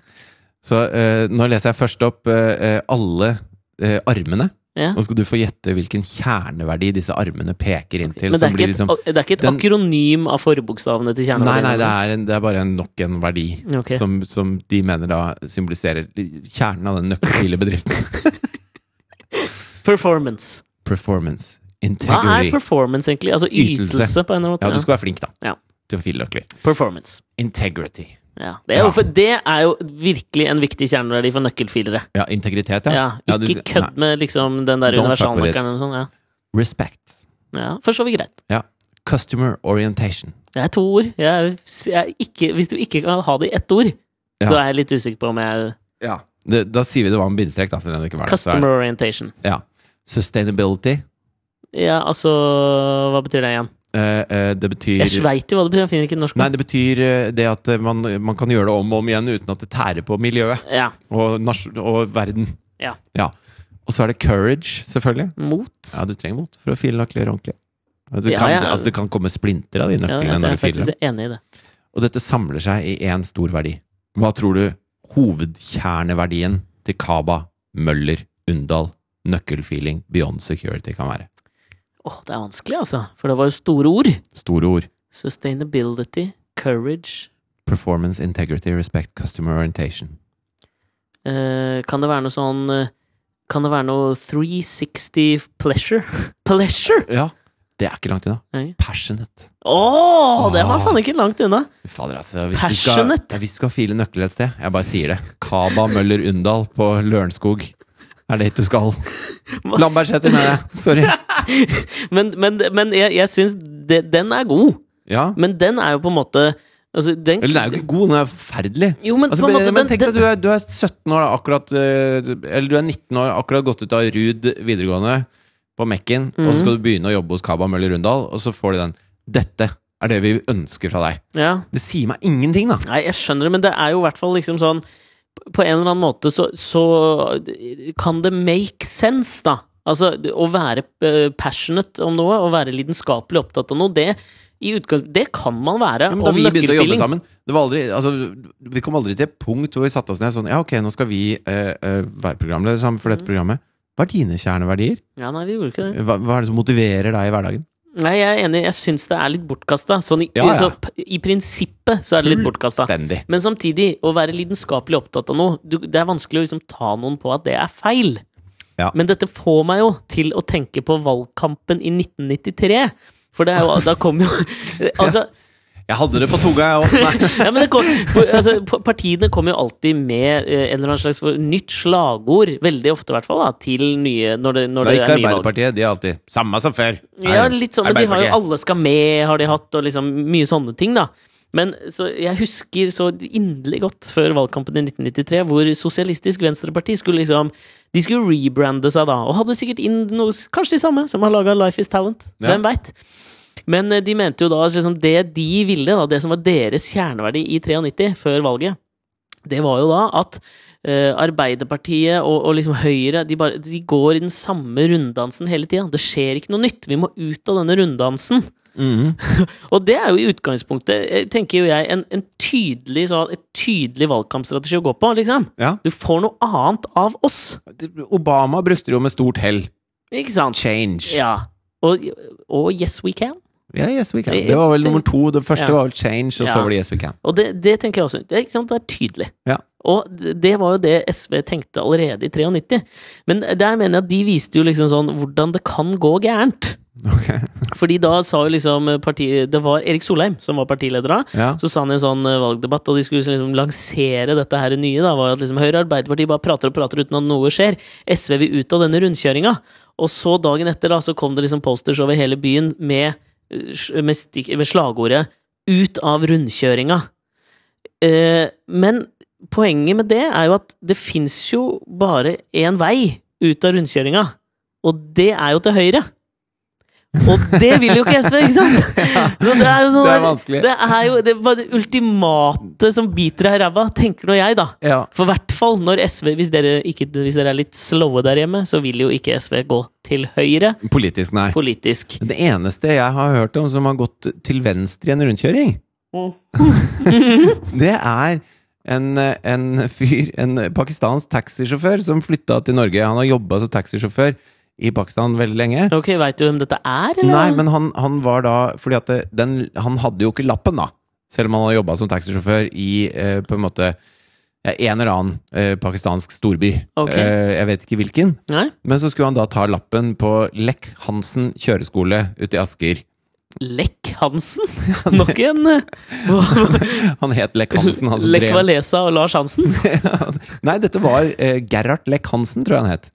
Speaker 3: Så eh, nå leser jeg først opp eh, eh, alle eh, armene.
Speaker 1: Ja.
Speaker 3: Nå skal du få gjette hvilken kjerneverdi disse armene peker inn til.
Speaker 1: Men det
Speaker 3: som
Speaker 1: er, ikke
Speaker 3: blir
Speaker 1: et,
Speaker 3: liksom,
Speaker 1: det er ikke et
Speaker 3: den-
Speaker 1: akronym av forbokstavene til
Speaker 3: nei,
Speaker 1: kjerneverdiene?
Speaker 3: nei, det er, en, det er bare en, nok en verdi
Speaker 1: Ok.
Speaker 3: som, som de mener da symboliserer kjernen av den nøkkelfile bedriften.
Speaker 1: Performance.
Speaker 3: Performance.
Speaker 1: Hva er
Speaker 3: Integrity.
Speaker 1: performance, egentlig? Altså
Speaker 3: Ytelse.
Speaker 1: ytelse, på en eller annen måte.
Speaker 3: ja, du
Speaker 1: Ja,
Speaker 3: skal være flink, da.
Speaker 1: Ja.
Speaker 3: Til å file nøkler.
Speaker 1: Performance.
Speaker 3: Integrity.
Speaker 1: Ja. Det, er jo,
Speaker 3: Ja.
Speaker 1: for det er jo virkelig en viktig kjerneverdi for nøkkelfilere.
Speaker 3: Ja, integritet, ja.
Speaker 1: Ja,
Speaker 3: du
Speaker 1: ikke
Speaker 3: skal- nei.
Speaker 1: kødd med liksom den der
Speaker 3: Don't fuck with it.
Speaker 1: universalnøkkelen eller noe sånt. sånn, Ja.
Speaker 3: Respect.
Speaker 1: Ja, for så vidt greit.
Speaker 3: Ja. Customer orientation.
Speaker 1: Det er to ord. Jeg, er- jeg, er ikke, hvis du ikke kan ha det i ett ord,
Speaker 3: Ja.
Speaker 1: så er jeg litt usikker på om jeg
Speaker 3: Ja. Det, da sier vi det var en bindestrek, da. Til den det ikke var der. Så er det-
Speaker 1: Customer orientation.
Speaker 3: Ja. Sustainability.
Speaker 1: Ja, altså Hva betyr det igjen?
Speaker 3: Eh, eh, det betyr
Speaker 1: Jeg veit jo hva det betyr, jeg finner ikke et norsk
Speaker 3: Nei,
Speaker 1: ord.
Speaker 3: det betyr eh, det at eh, man, man kan gjøre det om og om igjen uten at det tærer på miljøet
Speaker 1: Ja.
Speaker 3: og, nasj- og verden.
Speaker 1: Ja.
Speaker 3: Og så er det courage, selvfølgelig.
Speaker 1: Mot.
Speaker 3: Ja, du trenger mot for å file nøkler ordentlig. Ja, Du
Speaker 1: Ja,
Speaker 3: kan,
Speaker 1: ja.
Speaker 3: Altså, det kan komme splinter av de
Speaker 1: Ja,
Speaker 3: nøklene
Speaker 1: jeg
Speaker 3: når
Speaker 1: er
Speaker 3: du filer dem.
Speaker 1: faktisk enig i det.
Speaker 3: Og dette samler seg i én stor verdi. Hva tror du hovedkjerneverdien til Kaba, Møller, Undal, nøkkelfeeling, Beyond Security kan være?
Speaker 1: Åh, det er vanskelig, altså. For det var jo store ord.
Speaker 3: Store ord.
Speaker 1: Sustainability, courage
Speaker 3: Performance, integrity, respect, customer orientation.
Speaker 1: Eh, Kan det være noe sånn eh, Kan det være noe 360 pleasure? pleasure?
Speaker 3: Ja, det er ikke langt unna.
Speaker 1: Nei.
Speaker 3: Passionate.
Speaker 1: Å, det var
Speaker 3: Ah.
Speaker 1: faen ikke langt unna!
Speaker 3: Fader, altså. Hvis Du
Speaker 1: Passionate.
Speaker 3: skal, ja, hvis du skal file nøkler et sted, jeg bare sier det. Kaba Møller Undal på Lørenskog. Er det hit du skal? Lambertseter, mener jeg. Sorry.
Speaker 1: Men, men, men jeg, jeg syns det- den er god.
Speaker 3: Ja.
Speaker 1: Men den er jo på en måte Altså, den,
Speaker 3: Eller den er jo ikke god, den er forferdelig.
Speaker 1: Jo, men
Speaker 3: Altså,
Speaker 1: på en måte
Speaker 3: men, men
Speaker 1: den-
Speaker 3: tenk deg,
Speaker 1: den-
Speaker 3: du er, du er 17 år da, akkurat eh, Eller du er 19 år, akkurat gått ut av Rud videregående på Mekken, og
Speaker 1: Mhm.
Speaker 3: så skal du begynne å jobbe hos Kaba Møller Rundal, og så får du den. Dette er det vi ønsker fra deg.
Speaker 1: ja.
Speaker 3: Det sier meg ingenting, da!
Speaker 1: Nei, jeg skjønner det, men det er jo i hvert fall liksom sånn På en eller annen måte så, så kan det make sense, da. Altså, det- å være eh, passionate om noe, å være lidenskapelig opptatt av noe, det, i utgangs- det kan man være.
Speaker 3: Ja,
Speaker 1: om
Speaker 3: men da vi begynte å jobbe
Speaker 1: nøkkelfeeling.
Speaker 3: sammen det var aldri, altså, Vi kom aldri til et punkt hvor vi satte oss ned sånn Ja, ok, nå skal vi eh, eh, være programledere sammen for dette
Speaker 1: Mm.
Speaker 3: programmet. Hva er dine kjerneverdier?
Speaker 1: Ja, nei, vi gjorde ikke det.
Speaker 3: Hva, hva er det som motiverer deg i hverdagen?
Speaker 1: Nei, jeg er enig, jeg syns det er litt bortkasta. Sånn i,
Speaker 3: Ja, Mm. ja.
Speaker 1: Så, p- i prinsippet så er det litt bortkasta.
Speaker 3: Stendig.
Speaker 1: Men samtidig, å være lidenskapelig opptatt av noe du, Det er vanskelig å liksom ta noen på at det er feil.
Speaker 3: Ja.
Speaker 1: Men dette får meg jo til å tenke på valgkampen i 1993. For det er jo, da kom jo altså,
Speaker 3: Jeg hadde det på tunga, jeg òg. Nei.
Speaker 1: ja, men det kom, for, altså, pa- Partiene kom jo alltid med eh, en eller annen slags for- nytt slagord, veldig ofte i hvert fall, da, til nye når det, når
Speaker 3: Da
Speaker 1: det
Speaker 3: gikk
Speaker 1: er nye valg.
Speaker 3: Arbeiderpartiet. De er alltid samme som før.
Speaker 1: Ja, litt sånn, men de har jo
Speaker 3: Arbeiderpartiet.
Speaker 1: Alle skal med, har de hatt, og liksom mye sånne ting, da. Men så jeg husker så inderlig godt før valgkampen i 1993, hvor Sosialistisk Venstreparti skulle liksom De skulle rebrande seg da, og hadde sikkert inn noe Kanskje de samme som har laga Life Is Talent.
Speaker 3: Ja.
Speaker 1: Hvem veit? Men eh, de mente jo da at liksom, det de ville, da, det som var deres kjerneverdi i 93, før valget, det var jo da at eh, Arbeiderpartiet og, og liksom Høyre de, bare, de går i den samme runddansen hele tida. Det skjer ikke noe nytt. Vi må ut av denne runddansen.
Speaker 3: Mhm.
Speaker 1: Og det er jo i utgangspunktet, eh, tenker jo jeg, en, en tydelig, sånn, et tydelig valgkampstrategi å gå på, liksom.
Speaker 3: Ja.
Speaker 1: Du får noe annet av oss,
Speaker 3: Obama brukte det jo med stort hell.
Speaker 1: ikke sant?
Speaker 3: Change. Ja.
Speaker 1: Ja. Og, og Yes We Can.
Speaker 3: yes we can. Det var vel nummer to. Det første
Speaker 1: Ja.
Speaker 3: var vel change, og så
Speaker 1: Ja.
Speaker 3: var det yes we can.
Speaker 1: Og det, det tenker jeg også. Det er, ikke sant? det er tydelig.
Speaker 3: Ja.
Speaker 1: Og det det var jo det SV tenkte allerede i 93. Men der mener jeg at de viste jo liksom sånn hvordan det kan gå gærent.
Speaker 3: Ok.
Speaker 1: Fordi da sa jo liksom partiet Det var Erik Solheim som var partileder da.
Speaker 3: Ja.
Speaker 1: Så sa han i en sånn eh, valgdebatt, og de skulle liksom lansere dette her nye, da, var jo at liksom Høyre og Arbeiderpartiet bare prater og prater uten at noe skjer. SV vil ut av denne rundkjøringa. Og så dagen etter da, så kom det liksom posters over hele byen med, eh, sj- med, stikk, med slagordet 'Ut av rundkjøringa'. Eh, men poenget med det er jo at det fins jo bare én vei ut av rundkjøringa, og det er jo til høyre. Og det vil jo ikke SV, ikke sant? Så det er jo sånn
Speaker 3: Det er
Speaker 1: der-
Speaker 3: vanskelig.
Speaker 1: Det er jo det, var det ultimate som biter deg i ræva, tenker nå jeg, da.
Speaker 3: Ja.
Speaker 1: For hvert fall når SV hvis dere, ikke, hvis dere er litt slowe der hjemme, så vil jo ikke SV gå til høyre
Speaker 3: Politisk, nei.
Speaker 1: politisk.
Speaker 3: Det eneste jeg har hørt om som har gått til venstre i en rundkjøring, Mm. det er en, en fyr, en pakistansk taxisjåfør, som flytta til Norge. Han har jobba som taxisjåfør i Pakistan veldig lenge.
Speaker 1: Ok, veit du hvem dette er, eller?
Speaker 3: Nei, men han, han var da Fordi at det, den, han hadde jo ikke lappen, da. Selv om han hadde jobba som taxisjåfør i eh, på en måte ja, en eller annen eh, pakistansk storby.
Speaker 1: Ok.
Speaker 3: Eh, jeg vet ikke hvilken.
Speaker 1: Nei?
Speaker 3: Men så skulle han da ta lappen på Lech Hansen kjøreskole ute i Asker.
Speaker 1: Lekk Hansen? Nok en eh,
Speaker 3: Han het Lech Hansen. altså Han som
Speaker 1: Lech
Speaker 3: drev-
Speaker 1: Walesa og Lars Hansen?
Speaker 3: Nei, dette var eh, Gerhard Lech Hansen, tror jeg han het.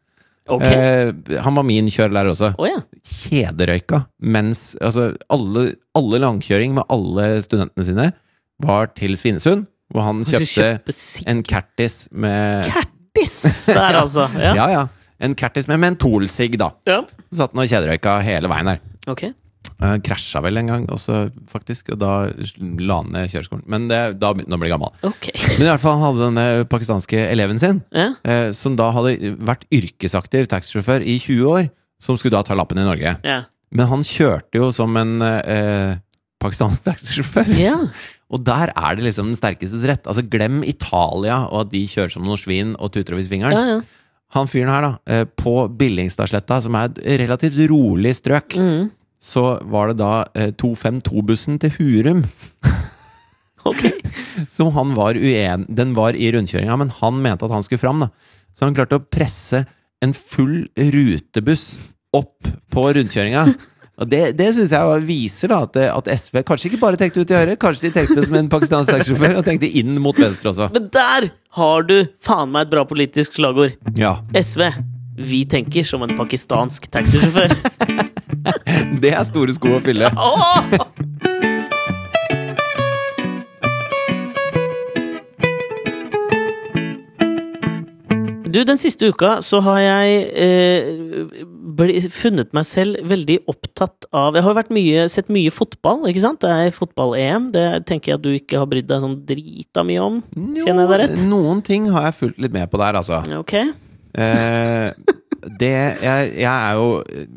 Speaker 1: Ok. Å
Speaker 3: Eh, han var min kjørelærer også.
Speaker 1: ja.
Speaker 3: kjederøyka mens altså, alle, alle langkjøring med alle studentene sine var til Svinesund, hvor han
Speaker 1: Du
Speaker 3: kjøpte
Speaker 1: kjøper sikkert
Speaker 3: en Kertis med
Speaker 1: Kertis der, altså. Ja.
Speaker 3: Ja, ja. En Kertis med mentolsigg, da.
Speaker 1: ja.
Speaker 3: Så satt han og kjederøyka hele veien der.
Speaker 1: Ok.
Speaker 3: Han krasja vel en gang også, faktisk, og da la han ned kjøreskolen. Men det, da begynte han å bli gammel.
Speaker 1: Ok.
Speaker 3: Men i hvert fall han hadde den pakistanske eleven sin,
Speaker 1: Ja.
Speaker 3: eh, som da hadde vært yrkesaktiv taxisjåfør i 20 år, som skulle da ta lappen i Norge.
Speaker 1: Ja.
Speaker 3: Men han kjørte jo som en eh, pakistansk taxisjåfør.
Speaker 1: ja.
Speaker 3: Og der er det liksom den sterkestes rett. Altså Glem Italia og at de kjører som noen svin og tuter over
Speaker 1: ja,
Speaker 3: svingeren.
Speaker 1: ja.
Speaker 3: Han fyren her, da, eh, på Billingstadsletta, som er et relativt rolig strøk,
Speaker 1: Mm.
Speaker 3: så var det da eh, 252-bussen til Hurum
Speaker 1: Ok.
Speaker 3: som han var uen... Den var i rundkjøringa, men han mente at han skulle fram, da. Så han klarte å presse en full rutebuss opp på rundkjøringa. Og det, det syns jeg var- viser da at, det- at SV kanskje ikke bare tenkte ut i høyre, kanskje de tenkte som en pakistansk taxisjåfør og tenkte inn mot venstre også.
Speaker 1: Men der har du faen meg et bra politisk slagord.
Speaker 3: Ja,
Speaker 1: SV. Vi tenker som en pakistansk taxisjåfør.
Speaker 3: Det er store sko å fylle.
Speaker 1: Åh! Du, den siste uka så har jeg eh, bli, funnet meg selv veldig opptatt av Jeg har vært mye, sett mye fotball, ikke sant? Det er fotball-EM. Det tenker jeg at du ikke har brydd deg sånn drita mye om. Kjenner jeg deg rett?
Speaker 3: Noen ting har jeg fulgt litt med på der, altså.
Speaker 1: Ok.
Speaker 3: Eh, det jeg, jeg er jo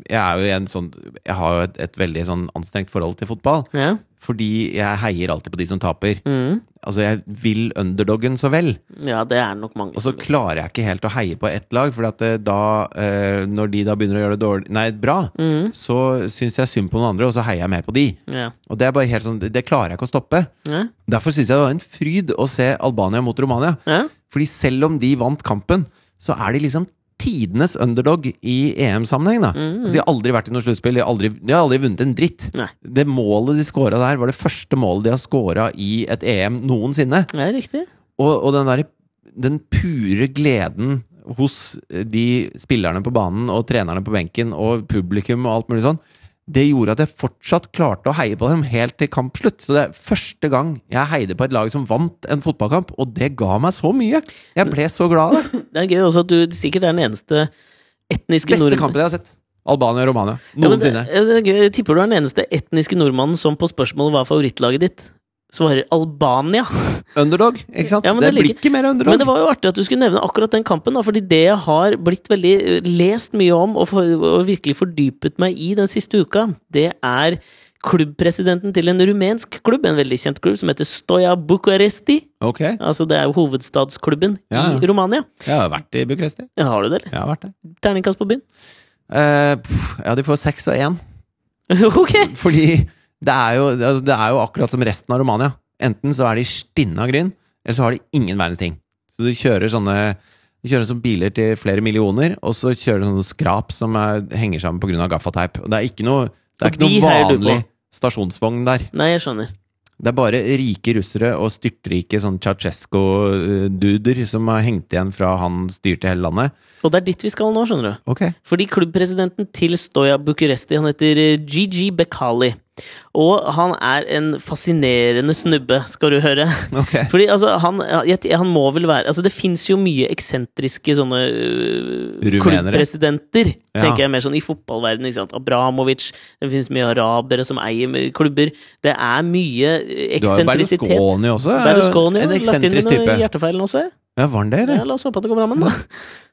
Speaker 3: Jeg er jo i en sånn Jeg har jo et, et veldig sånn anstrengt forhold til fotball.
Speaker 1: Ja.
Speaker 3: Fordi jeg heier alltid på de som taper.
Speaker 1: Mm.
Speaker 3: Altså, jeg vil underdoggen så vel.
Speaker 1: ja, det er nok mange.
Speaker 3: Og så klarer jeg ikke helt å heie på ett lag, for at eh, da, eh, når de da begynner å gjøre det dårlig, nei, bra,
Speaker 1: Mm.
Speaker 3: så syns jeg synd på noen andre, og så heier jeg mer på de.
Speaker 1: Ja.
Speaker 3: Og det er bare helt sånn, det det klarer jeg ikke å stoppe.
Speaker 1: Ja.
Speaker 3: Derfor syns jeg det var en fryd å se Albania mot Romania.
Speaker 1: ja.
Speaker 3: Fordi selv om de vant kampen, så er de liksom tidenes underdog i EM-sammenheng. da altså, De har aldri vært i noe sluttspill, de, har aldri- de har aldri vunnet en dritt.
Speaker 1: Nei.
Speaker 3: Det målet de scora der, var det første målet de har scora i et EM noensinne.
Speaker 1: Det er riktig.
Speaker 3: Og, og den, der, den pure gleden hos eh, de spillerne på banen og trenerne på benken og publikum og alt mulig sånn, det gjorde at jeg fortsatt klarte å heie på dem helt til kampslutt. Så det er første gang jeg heide på et lag som vant en fotballkamp, og det ga meg så mye! Jeg ble så glad av det!
Speaker 1: Det er gøy også at du sikkert er den eneste etniske
Speaker 3: Beste
Speaker 1: nordmannen-
Speaker 3: kampen jeg har sett. Albania og Romania.
Speaker 1: Ja, men det-
Speaker 3: Noensinne.
Speaker 1: ja, det er gøy. Jeg tipper du er den eneste etniske nordmannen som på spørsmålet hva er favorittlaget ditt, svarer Albania.
Speaker 3: Underdog, ikke sant?
Speaker 1: Ja, men
Speaker 3: det,
Speaker 1: det
Speaker 3: blir
Speaker 1: ligger-
Speaker 3: ikke mer
Speaker 1: Men
Speaker 3: underdog.
Speaker 1: det var jo artig at du skulle nevne akkurat den kampen, da, fordi det jeg har blitt veldig eh, lest mye om og, for, og virkelig fordypet meg i den siste uka, det er klubbpresidenten til en rumensk klubb, en veldig kjent klubb, som heter Stoja Bucuresti.
Speaker 3: Ok,
Speaker 1: Altså, det er jo hovedstadsklubben
Speaker 3: Ja, ja.
Speaker 1: i Romania.
Speaker 3: jeg har vært i Bucuresti.
Speaker 1: Ja, Har du det, eller?
Speaker 3: Jeg har vært der.
Speaker 1: Terningkast på byen?
Speaker 3: Eh, pff, ja, de får seks og én.
Speaker 1: ok!
Speaker 3: Fordi det er, jo, altså, det er jo akkurat som resten av Romania. Enten så er de stinna gryn, eller så har de ingen verdens ting. Så du kjører sånne du kjører sånne biler til flere millioner, og så kjører du sånne skrap som er, henger sammen pga. gaffateip. Og Det er ikke noe,
Speaker 1: Og
Speaker 3: det er ikke noe
Speaker 1: de heier du på?
Speaker 3: vanlig stasjonsvogn der.
Speaker 1: Nei, jeg skjønner.
Speaker 3: Det er bare rike russere og styrtrike sånn Ceaucescu-duder som har hengt igjen fra han styrte hele landet.
Speaker 1: Og det er dit vi skal nå, skjønner du.
Speaker 3: Ok,
Speaker 1: Fordi klubbpresidenten til Stoja Bucuresti, han heter eh, Gigi Bekkali. Og han er en fascinerende snubbe, skal du høre.
Speaker 3: ok.
Speaker 1: Fordi altså, han, jeg, jeg- han må vel være altså, Det fins jo mye eksentriske sånne øh,
Speaker 3: Rumenere.
Speaker 1: klubbpresidenter,
Speaker 3: Ja.
Speaker 1: tenker jeg mer sånn i fotballverdenen. Ikke sant? Abramovic, det fins mye arabere som eier mye klubber. Det er mye øh,
Speaker 3: Du har jo
Speaker 1: eksentrisitet.
Speaker 3: Berlusconi også. er jo
Speaker 1: Berlusconi har
Speaker 3: en
Speaker 1: lagt inn
Speaker 3: eksentrisk
Speaker 1: noe
Speaker 3: type.
Speaker 1: hjertefeil nå, ser jeg.
Speaker 3: Ja, var han det,
Speaker 1: Ja,
Speaker 3: eller?
Speaker 1: la oss håpe at det går bra med den, da.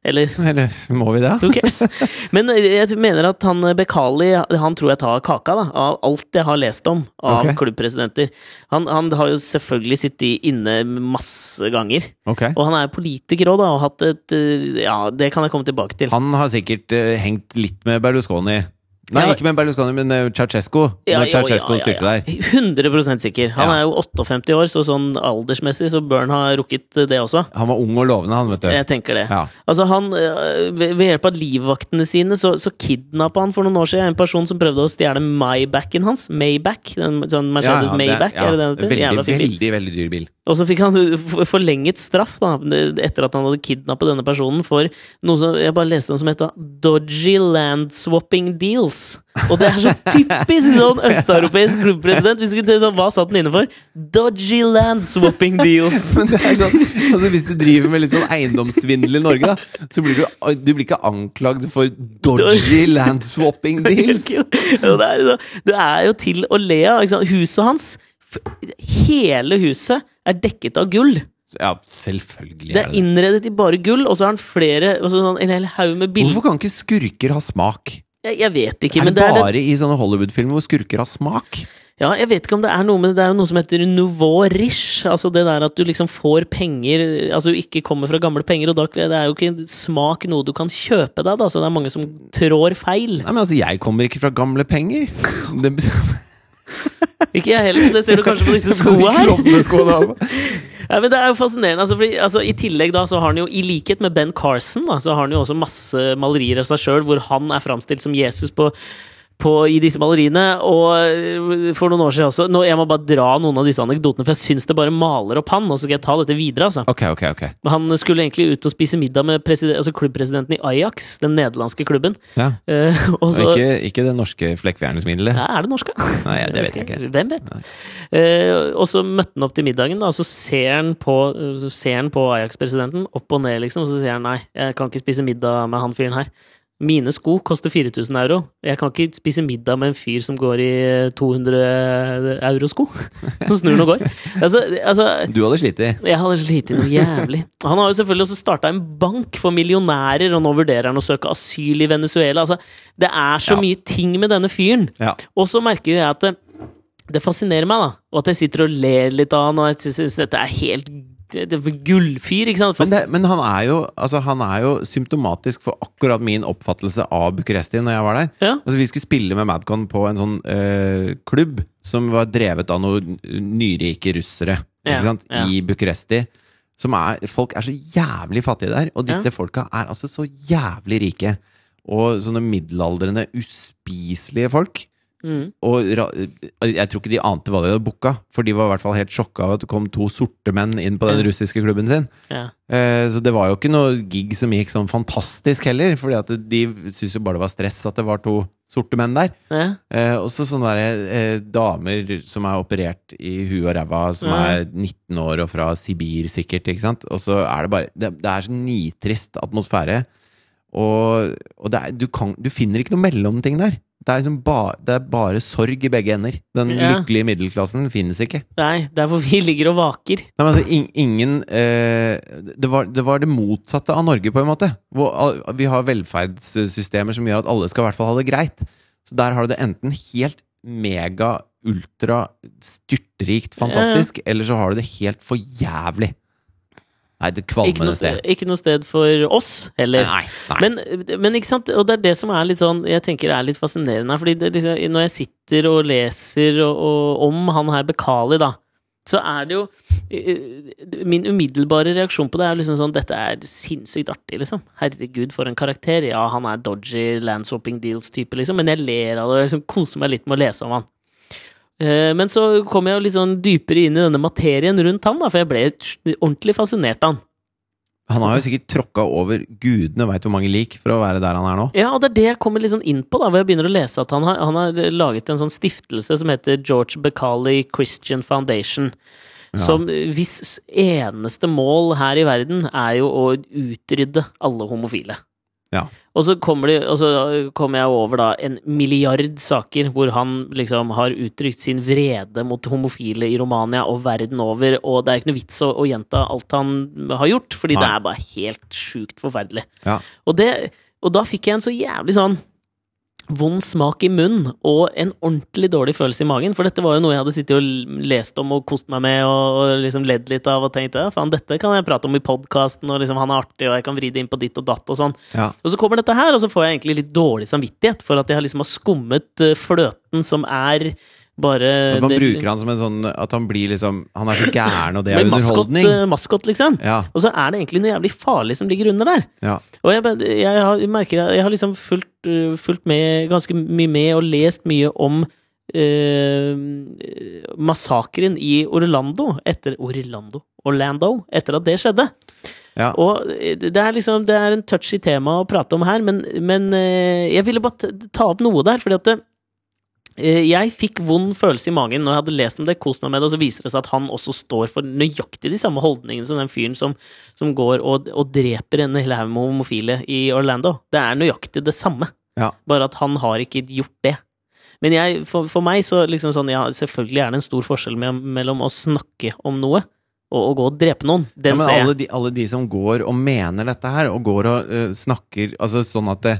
Speaker 1: Eller
Speaker 3: Eller må vi det?
Speaker 1: Who cares? Men jeg mener at han Bekkali Han tror jeg tar kaka da av alt jeg har lest om av
Speaker 3: Ok.
Speaker 1: klubbpresidenter. Han, han har jo selvfølgelig sittet inne masse ganger.
Speaker 3: Ok.
Speaker 1: Og han er politiker òg, da, og hatt et eh, Ja, det kan jeg komme tilbake til.
Speaker 3: Han har sikkert eh, hengt litt med Berlusconi. Nei,
Speaker 1: Ja.
Speaker 3: ikke med Berlusconi, men uh, Ceaucescu.
Speaker 1: Ja,
Speaker 3: når
Speaker 1: jo, ja,
Speaker 3: Ceaucescu
Speaker 1: ja, ja.
Speaker 3: styrte der.
Speaker 1: 100 sikker. Han
Speaker 3: Ja.
Speaker 1: er jo 58 år, så sånn aldersmessig så bør han ha rukket det også.
Speaker 3: Han var ung og lovende, han, vet du.
Speaker 1: Jeg tenker det.
Speaker 3: Ja.
Speaker 1: Altså han, øh, ved ved hjelp av livvaktene sine så, så kidnappa han for noen år siden en person som prøvde å stjele Maybach-en hans. Maybach, den, sånn Mercedes
Speaker 3: Ja, ja, det-
Speaker 1: Maybach,
Speaker 3: ja,
Speaker 1: er det den heter?
Speaker 3: Veldig,
Speaker 1: Jævla fin bil.
Speaker 3: veldig, veldig dyr bil.
Speaker 1: Og så fikk han f- forlenget straff da, etter at han hadde kidnappet denne personen for noe som jeg bare leste om som het da, dodgy land swapping deals. Og det er så typisk sånn østeuropeisk klubbpresident. Vi skulle til sånn, Hva satt den inne for? Dodgy land swapping deals.
Speaker 3: Men det er sånn, altså Hvis du driver med litt sånn eiendomssvindel i Norge, da, så blir du, du blir ikke anklagd for dodgy land swapping deals.
Speaker 1: elsker det. Jo, det, er, jo- det er jo til å le av. ikke sant? Huset hans f- Hele huset er dekket av gull.
Speaker 3: Ja, selvfølgelig
Speaker 1: Det er
Speaker 3: er det det.
Speaker 1: innredet i bare gull, og så har han flere og så sånn, En hel haug med bilder.
Speaker 3: Hvorfor kan ikke skurker ha smak?
Speaker 1: Jeg, jeg vet ikke,
Speaker 3: Er
Speaker 1: men
Speaker 3: det
Speaker 1: det er
Speaker 3: bare i sånne Hollywood-filmer hvor skurker har smak?
Speaker 1: Ja, jeg vet ikke om det er noe, men det er jo noe som heter nouveau riche. Altså det der at du liksom får penger Altså du ikke kommer fra gamle penger, og da det er jo ikke smak noe du kan kjøpe deg, da. Så det er mange som trår feil.
Speaker 3: Nei, men altså, Jeg kommer ikke fra gamle penger. Det,
Speaker 1: Ikke jeg heller, det ser du kanskje på disse skoene her.
Speaker 3: her?
Speaker 1: Ja, men Det er jo fascinerende. Altså, fordi, altså, I tillegg da, så har han jo, i likhet med Ben Carson, da, så har han jo også masse malerier av seg sjøl hvor han er framstilt som Jesus på på, i disse maleriene. Og for noen år siden også nå, Jeg må bare dra noen av disse anekdotene, for jeg syns det bare maler opp han. Og så skal jeg ta dette videre, altså.
Speaker 3: Ok, ok, ok.
Speaker 1: Men Han skulle egentlig ut og spise middag med preside- altså klubbpresidenten i Ajax, den nederlandske klubben.
Speaker 3: Ja.
Speaker 1: Eh, og
Speaker 3: Og
Speaker 1: så
Speaker 3: ikke, ikke det norske flekkfjernersmiddelet.
Speaker 1: ja, er det norsk, da?
Speaker 3: Nei, det vet jeg ikke.
Speaker 1: Hvem vet? Eh, og så møtte han opp til middagen, da, og så ser han på, så ser han på Ajax-presidenten, opp og ned, liksom, og så sier han nei, jeg kan ikke spise middag med han fyren her. Mine sko koster 4000 euro. Jeg kan ikke spise middag med en fyr som går i 200 euro-sko. Som snur den og går. Altså, altså
Speaker 3: Du hadde slitt i.
Speaker 1: jeg hadde slitt noe jævlig. Han har jo selvfølgelig også starta en bank for millionærer, og nå vurderer han å søke asyl i Venezuela. Altså, det er så
Speaker 3: Ja.
Speaker 1: mye ting med denne fyren.
Speaker 3: Ja.
Speaker 1: Og så merker jeg at det, det fascinerer meg, da. Og at jeg sitter og ler litt av han, og jeg syns- syns dette er helt det- det er gullfyr, ikke sant?
Speaker 3: Men,
Speaker 1: Fast,
Speaker 3: det, men han, er jo, altså, han er jo symptomatisk for akkurat min oppfattelse av Bucuresti når jeg var der.
Speaker 1: ja.
Speaker 3: Altså, vi skulle spille med Madcon på en sånn eh, klubb som var drevet av noen nyrike russere
Speaker 1: Ja,
Speaker 3: ikke sant?
Speaker 1: ja.
Speaker 3: i Bucuresti. Som er, folk er så jævlig fattige der, og disse
Speaker 1: Ja.
Speaker 3: folka er altså så jævlig rike. Og sånne middelaldrende, uspiselige folk.
Speaker 1: Mm.
Speaker 3: Og ra jeg tror ikke de ante hva de hadde booka, for de var i hvert fall helt sjokka av at det kom to sorte menn inn på den
Speaker 1: Ja.
Speaker 3: russiske klubben sin.
Speaker 1: ja.
Speaker 3: Eh, Så det var jo ikke noe gig som gikk sånn fantastisk heller, fordi at de syntes jo bare det var stress at det var to sorte menn der.
Speaker 1: ja.
Speaker 3: Eh, Og så sånne der, eh, damer som er operert i huet og ræva, som
Speaker 1: Ja.
Speaker 3: er 19 år og fra Sibir sikkert, ikke sant. Og så er det bare Det, det er så nitrist atmosfære. Og, og det er, du, kan, du finner ikke noe mellomting der. Det er, liksom ba, det er bare sorg i begge ender. Den
Speaker 1: Ja.
Speaker 3: lykkelige middelklassen finnes ikke.
Speaker 1: Nei, det er hvor vi ligger og vaker.
Speaker 3: Nei, men altså, ing- ingen eh, det, var, det var det motsatte av Norge, på en måte. Hvor, al- vi har velferdssystemer som gjør at alle skal i hvert fall ha det greit. Så der har du det enten helt mega, ultra, styrtrikt, fantastisk, eller så har du det helt for jævlig. Nei, det
Speaker 1: Ikke
Speaker 3: kvalmende
Speaker 1: noe,
Speaker 3: sted.
Speaker 1: sted, ikke noe sted for oss heller.
Speaker 3: Nei, nei.
Speaker 1: Men, men ikke sant, og det er det som er litt sånn Jeg tenker er litt fascinerende her, Fordi det, liksom, når jeg sitter og leser og, og, Om han her Bekali da Så er det jo eh, Min umiddelbare reaksjon på det er liksom sånn Dette er sinnssykt artig liksom Herregud for en karakter Ja, han er dodgy landswapping deals type liksom Men jeg ler av det og liksom koser meg litt med å lese om han Eh, men så kom jeg jo litt sånn dypere inn i denne materien rundt han da, for jeg ble ordentlig fascinert av han.
Speaker 3: Han har jo sikkert tråkka over gudene veit hvor mange lik for å være der han er nå.
Speaker 1: Ja, og det er det jeg kommer litt sånn inn på, da, hvor jeg begynner å lese at han har, han har laget en sånn stiftelse som heter George Becali Christian Foundation. Som hvis eneste mål her i verden er jo å utrydde alle homofile.
Speaker 3: Ja.
Speaker 1: Og så kommer, de, og så kommer jeg over da en milliard saker hvor han liksom har uttrykt sin vrede mot homofile i Romania og verden over, og det er ikke noe vits å, å gjenta alt han har gjort, fordi det
Speaker 3: Nei.
Speaker 1: er bare helt sjukt forferdelig.
Speaker 3: Ja.
Speaker 1: Og, det, og da fikk jeg en så jævlig sånn vond smak i munnen og en ordentlig dårlig følelse i magen. For dette var jo noe jeg hadde sittet og l- lest om og kost meg med og, og liksom ledd litt av og tenkt ja, faen, dette kan jeg prate om i podkasten, og liksom han er artig, og jeg kan vri det inn på ditt og datt og sånn.
Speaker 3: Ja.
Speaker 1: Og så kommer dette her, og så får jeg egentlig litt dårlig samvittighet for at jeg liksom har skummet eh, fløten som er bare
Speaker 3: At
Speaker 1: Eh,
Speaker 3: man
Speaker 1: det-
Speaker 3: bruker han som en sånn At han blir liksom Han er så gæren, og det er
Speaker 1: med maskot,
Speaker 3: underholdning.
Speaker 1: eh, maskot, liksom.
Speaker 3: Ja,
Speaker 1: Og så er det egentlig noe jævlig farlig som ligger under der.
Speaker 3: ja.
Speaker 1: Og jeg, bare- jeg, har, jeg merker at jeg har liksom fulgt, øh, fulgt med ganske mye med og lest mye om øh, massakren i Orlando etter Orlando Orlando, etter at det skjedde.
Speaker 3: Ja.
Speaker 1: Og øh, det er liksom Det er en touchy tema å prate om her, men, men øh, jeg ville bare ta- ta opp noe der, fordi at det, øh, jeg fikk vond følelse i magen når jeg hadde lest om det, kost meg med det, og så viser det seg at han også står for nøyaktig de samme holdningene som den fyren som som går og, og dreper en hel haug med homofile i Orlando. Det er nøyaktig det samme,
Speaker 3: Ja.
Speaker 1: bare at han har ikke gjort det. Men jeg, for, for meg så liksom sånn, ja, selvfølgelig er det en stor forskjell me- mellom å snakke om noe og å gå og drepe noen.
Speaker 3: Ja,
Speaker 1: Den
Speaker 3: men
Speaker 1: ser jeg.
Speaker 3: alle de, alle de som går og mener dette her, og går og eh, snakker Altså sånn at det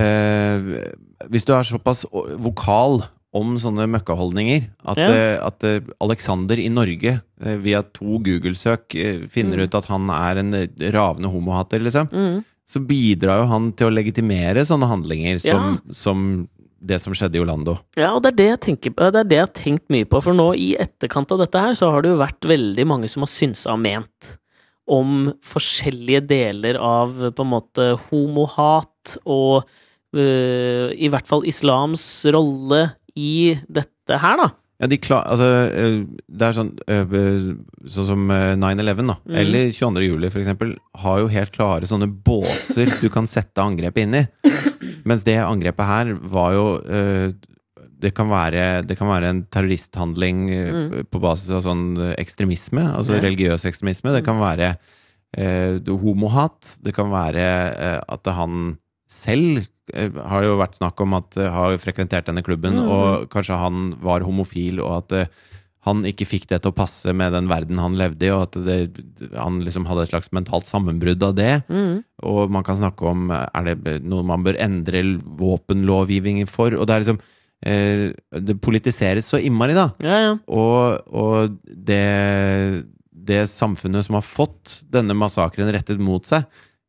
Speaker 3: eh, Hvis du er såpass o- vokal om sånne møkkaholdninger at,
Speaker 1: Ja.
Speaker 3: eh, at eh, Alexander i Norge eh, via to Google-søk eh, finner ut at han er en eh, ravende homohater, liksom,
Speaker 1: Mm.
Speaker 3: så bidrar jo han til å legitimere sånne handlinger som, som det som skjedde i Orlando.
Speaker 1: Ja, og det er det, jeg tenker, på- det er det jeg har tenkt mye på. For nå i etterkant av dette her, så har det jo vært veldig mange som har synsa og ment om forskjellige deler av på en måte homohat og eh, i hvert fall islams rolle i dette her, da.
Speaker 3: Ja, de klar, altså, øh, det er sånn øh, øh, Sånn som øh, 9-11, da.
Speaker 1: Mm.
Speaker 3: Eller 22. juli, for eksempel. Har jo helt klare sånne båser du kan sette angrepet inn i. Mens det angrepet her var jo øh, det kan, være, det kan være en terroristhandling øh, på basis av sånn øh, ekstremisme, altså
Speaker 1: Mm. Ja. Mm.
Speaker 3: religiøs ekstremisme. Det kan være eh, det- homohat. Det kan være eh, at han selv eh, har det jo vært snakk om at eh, har frekventert denne klubben,
Speaker 1: Mm.
Speaker 3: og kanskje han var homofil, og at eh, han ikke fikk det til å passe med den verden han levde i, og at det, han liksom hadde et slags mentalt sammenbrudd av det. Og man kan snakke om eh, er det noe man bør endre l- våpenlovgivningen for. Og det er liksom eh, Det politiseres så innmari, da.
Speaker 1: Ja, ja.
Speaker 3: Og, og det, det samfunnet som har fått denne massakren rettet mot seg,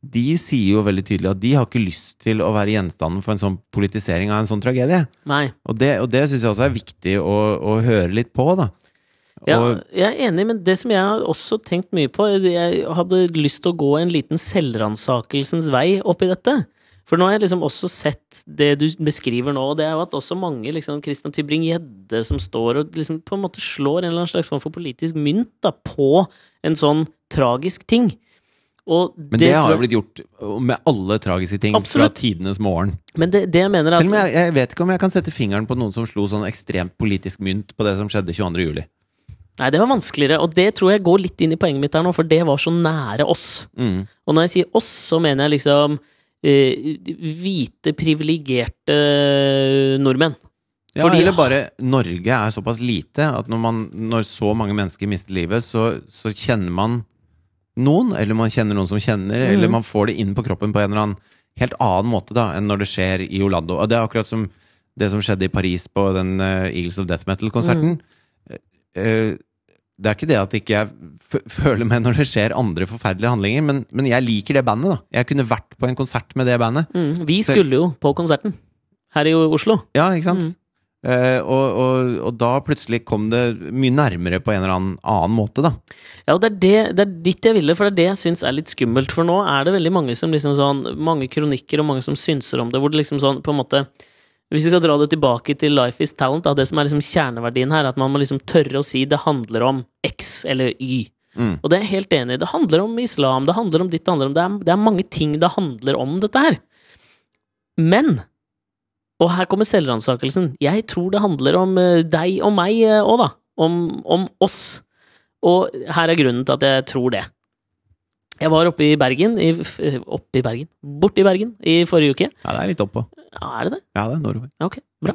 Speaker 3: de sier jo veldig tydelig at de har ikke lyst til å være gjenstanden for en sånn politisering av en sånn tragedie.
Speaker 1: Nei.
Speaker 3: Og det, og det syns jeg også er viktig å, å høre litt på, da.
Speaker 1: Ja,
Speaker 3: Og,
Speaker 1: jeg er enig, men det som jeg har også tenkt mye på Jeg hadde lyst til å gå en liten selvransakelsens vei oppi dette. For nå har jeg liksom også sett det du beskriver nå, og det er jo at også mange liksom Christian Tybring-Gjedde som står og liksom på en måte slår en eller annen slags form for politisk mynt da, på en sånn tragisk ting. Og
Speaker 3: men det, har
Speaker 1: tror
Speaker 3: jo blitt gjort med alle tragiske ting
Speaker 1: Absolutt.
Speaker 3: fra tidenes morgen.
Speaker 1: jeg, men det, det jeg mener er
Speaker 3: Selv om
Speaker 1: at
Speaker 3: jeg, jeg vet ikke om jeg kan sette fingeren på noen som slo sånn ekstremt politisk mynt på det som skjedde 22. juli.
Speaker 1: Nei, det var vanskeligere, og det tror jeg går litt inn i poenget mitt her nå, for det var så nære oss.
Speaker 3: Mm.
Speaker 1: Og når jeg sier oss, så mener jeg liksom eh, hvite, privilegerte eh, nordmenn.
Speaker 3: Ja,
Speaker 1: Fordi-
Speaker 3: eller bare Norge er såpass lite at når, man, når så mange mennesker mister livet, så, så kjenner man noen, eller man kjenner noen som kjenner, eller man får det inn på kroppen på en eller annen helt annen måte da, enn når det skjer i Orlando. Og det er akkurat som det som skjedde i Paris på den eh, Eagles of Death Metal-konserten. Eh, det er ikke det at ikke jeg f føler meg når det skjer andre forferdelige handlinger, men, men jeg liker det bandet, da. Jeg kunne vært på en konsert med det bandet.
Speaker 1: Mm, vi
Speaker 3: Så-
Speaker 1: skulle jo på konserten her i Oslo.
Speaker 3: Ja, ikke sant? Eh, og, og, og da plutselig kom det mye nærmere på en eller annen annen måte, da.
Speaker 1: Ja, og det er, det, det er dit jeg ville, for det er det jeg syns er litt skummelt. For nå er det veldig mange som liksom sånn Mange kronikker og mange som synser om det, hvor det liksom sånn på en måte Hvis vi skal dra det tilbake til Life is talent, da, det som er liksom kjerneverdien her, er at man må liksom tørre å si det handler om X eller Y.
Speaker 3: Mm.
Speaker 1: Og det er jeg helt enig i. Det handler om islam, det handler om ditt, det handler om det er, det er mange ting det handler om, dette her. Men Og her kommer selvransakelsen. Jeg tror det handler om eh, deg og meg òg, da. Om, om oss. Og her er grunnen til at jeg tror det. Jeg var oppe i Bergen i, f- eh, Oppe i Bergen? Borte i Bergen i forrige uke.
Speaker 3: Ja, det er litt oppå.
Speaker 1: Ja, Er det det?
Speaker 3: Ja, det er Norway.
Speaker 1: Ja, Ok, bra.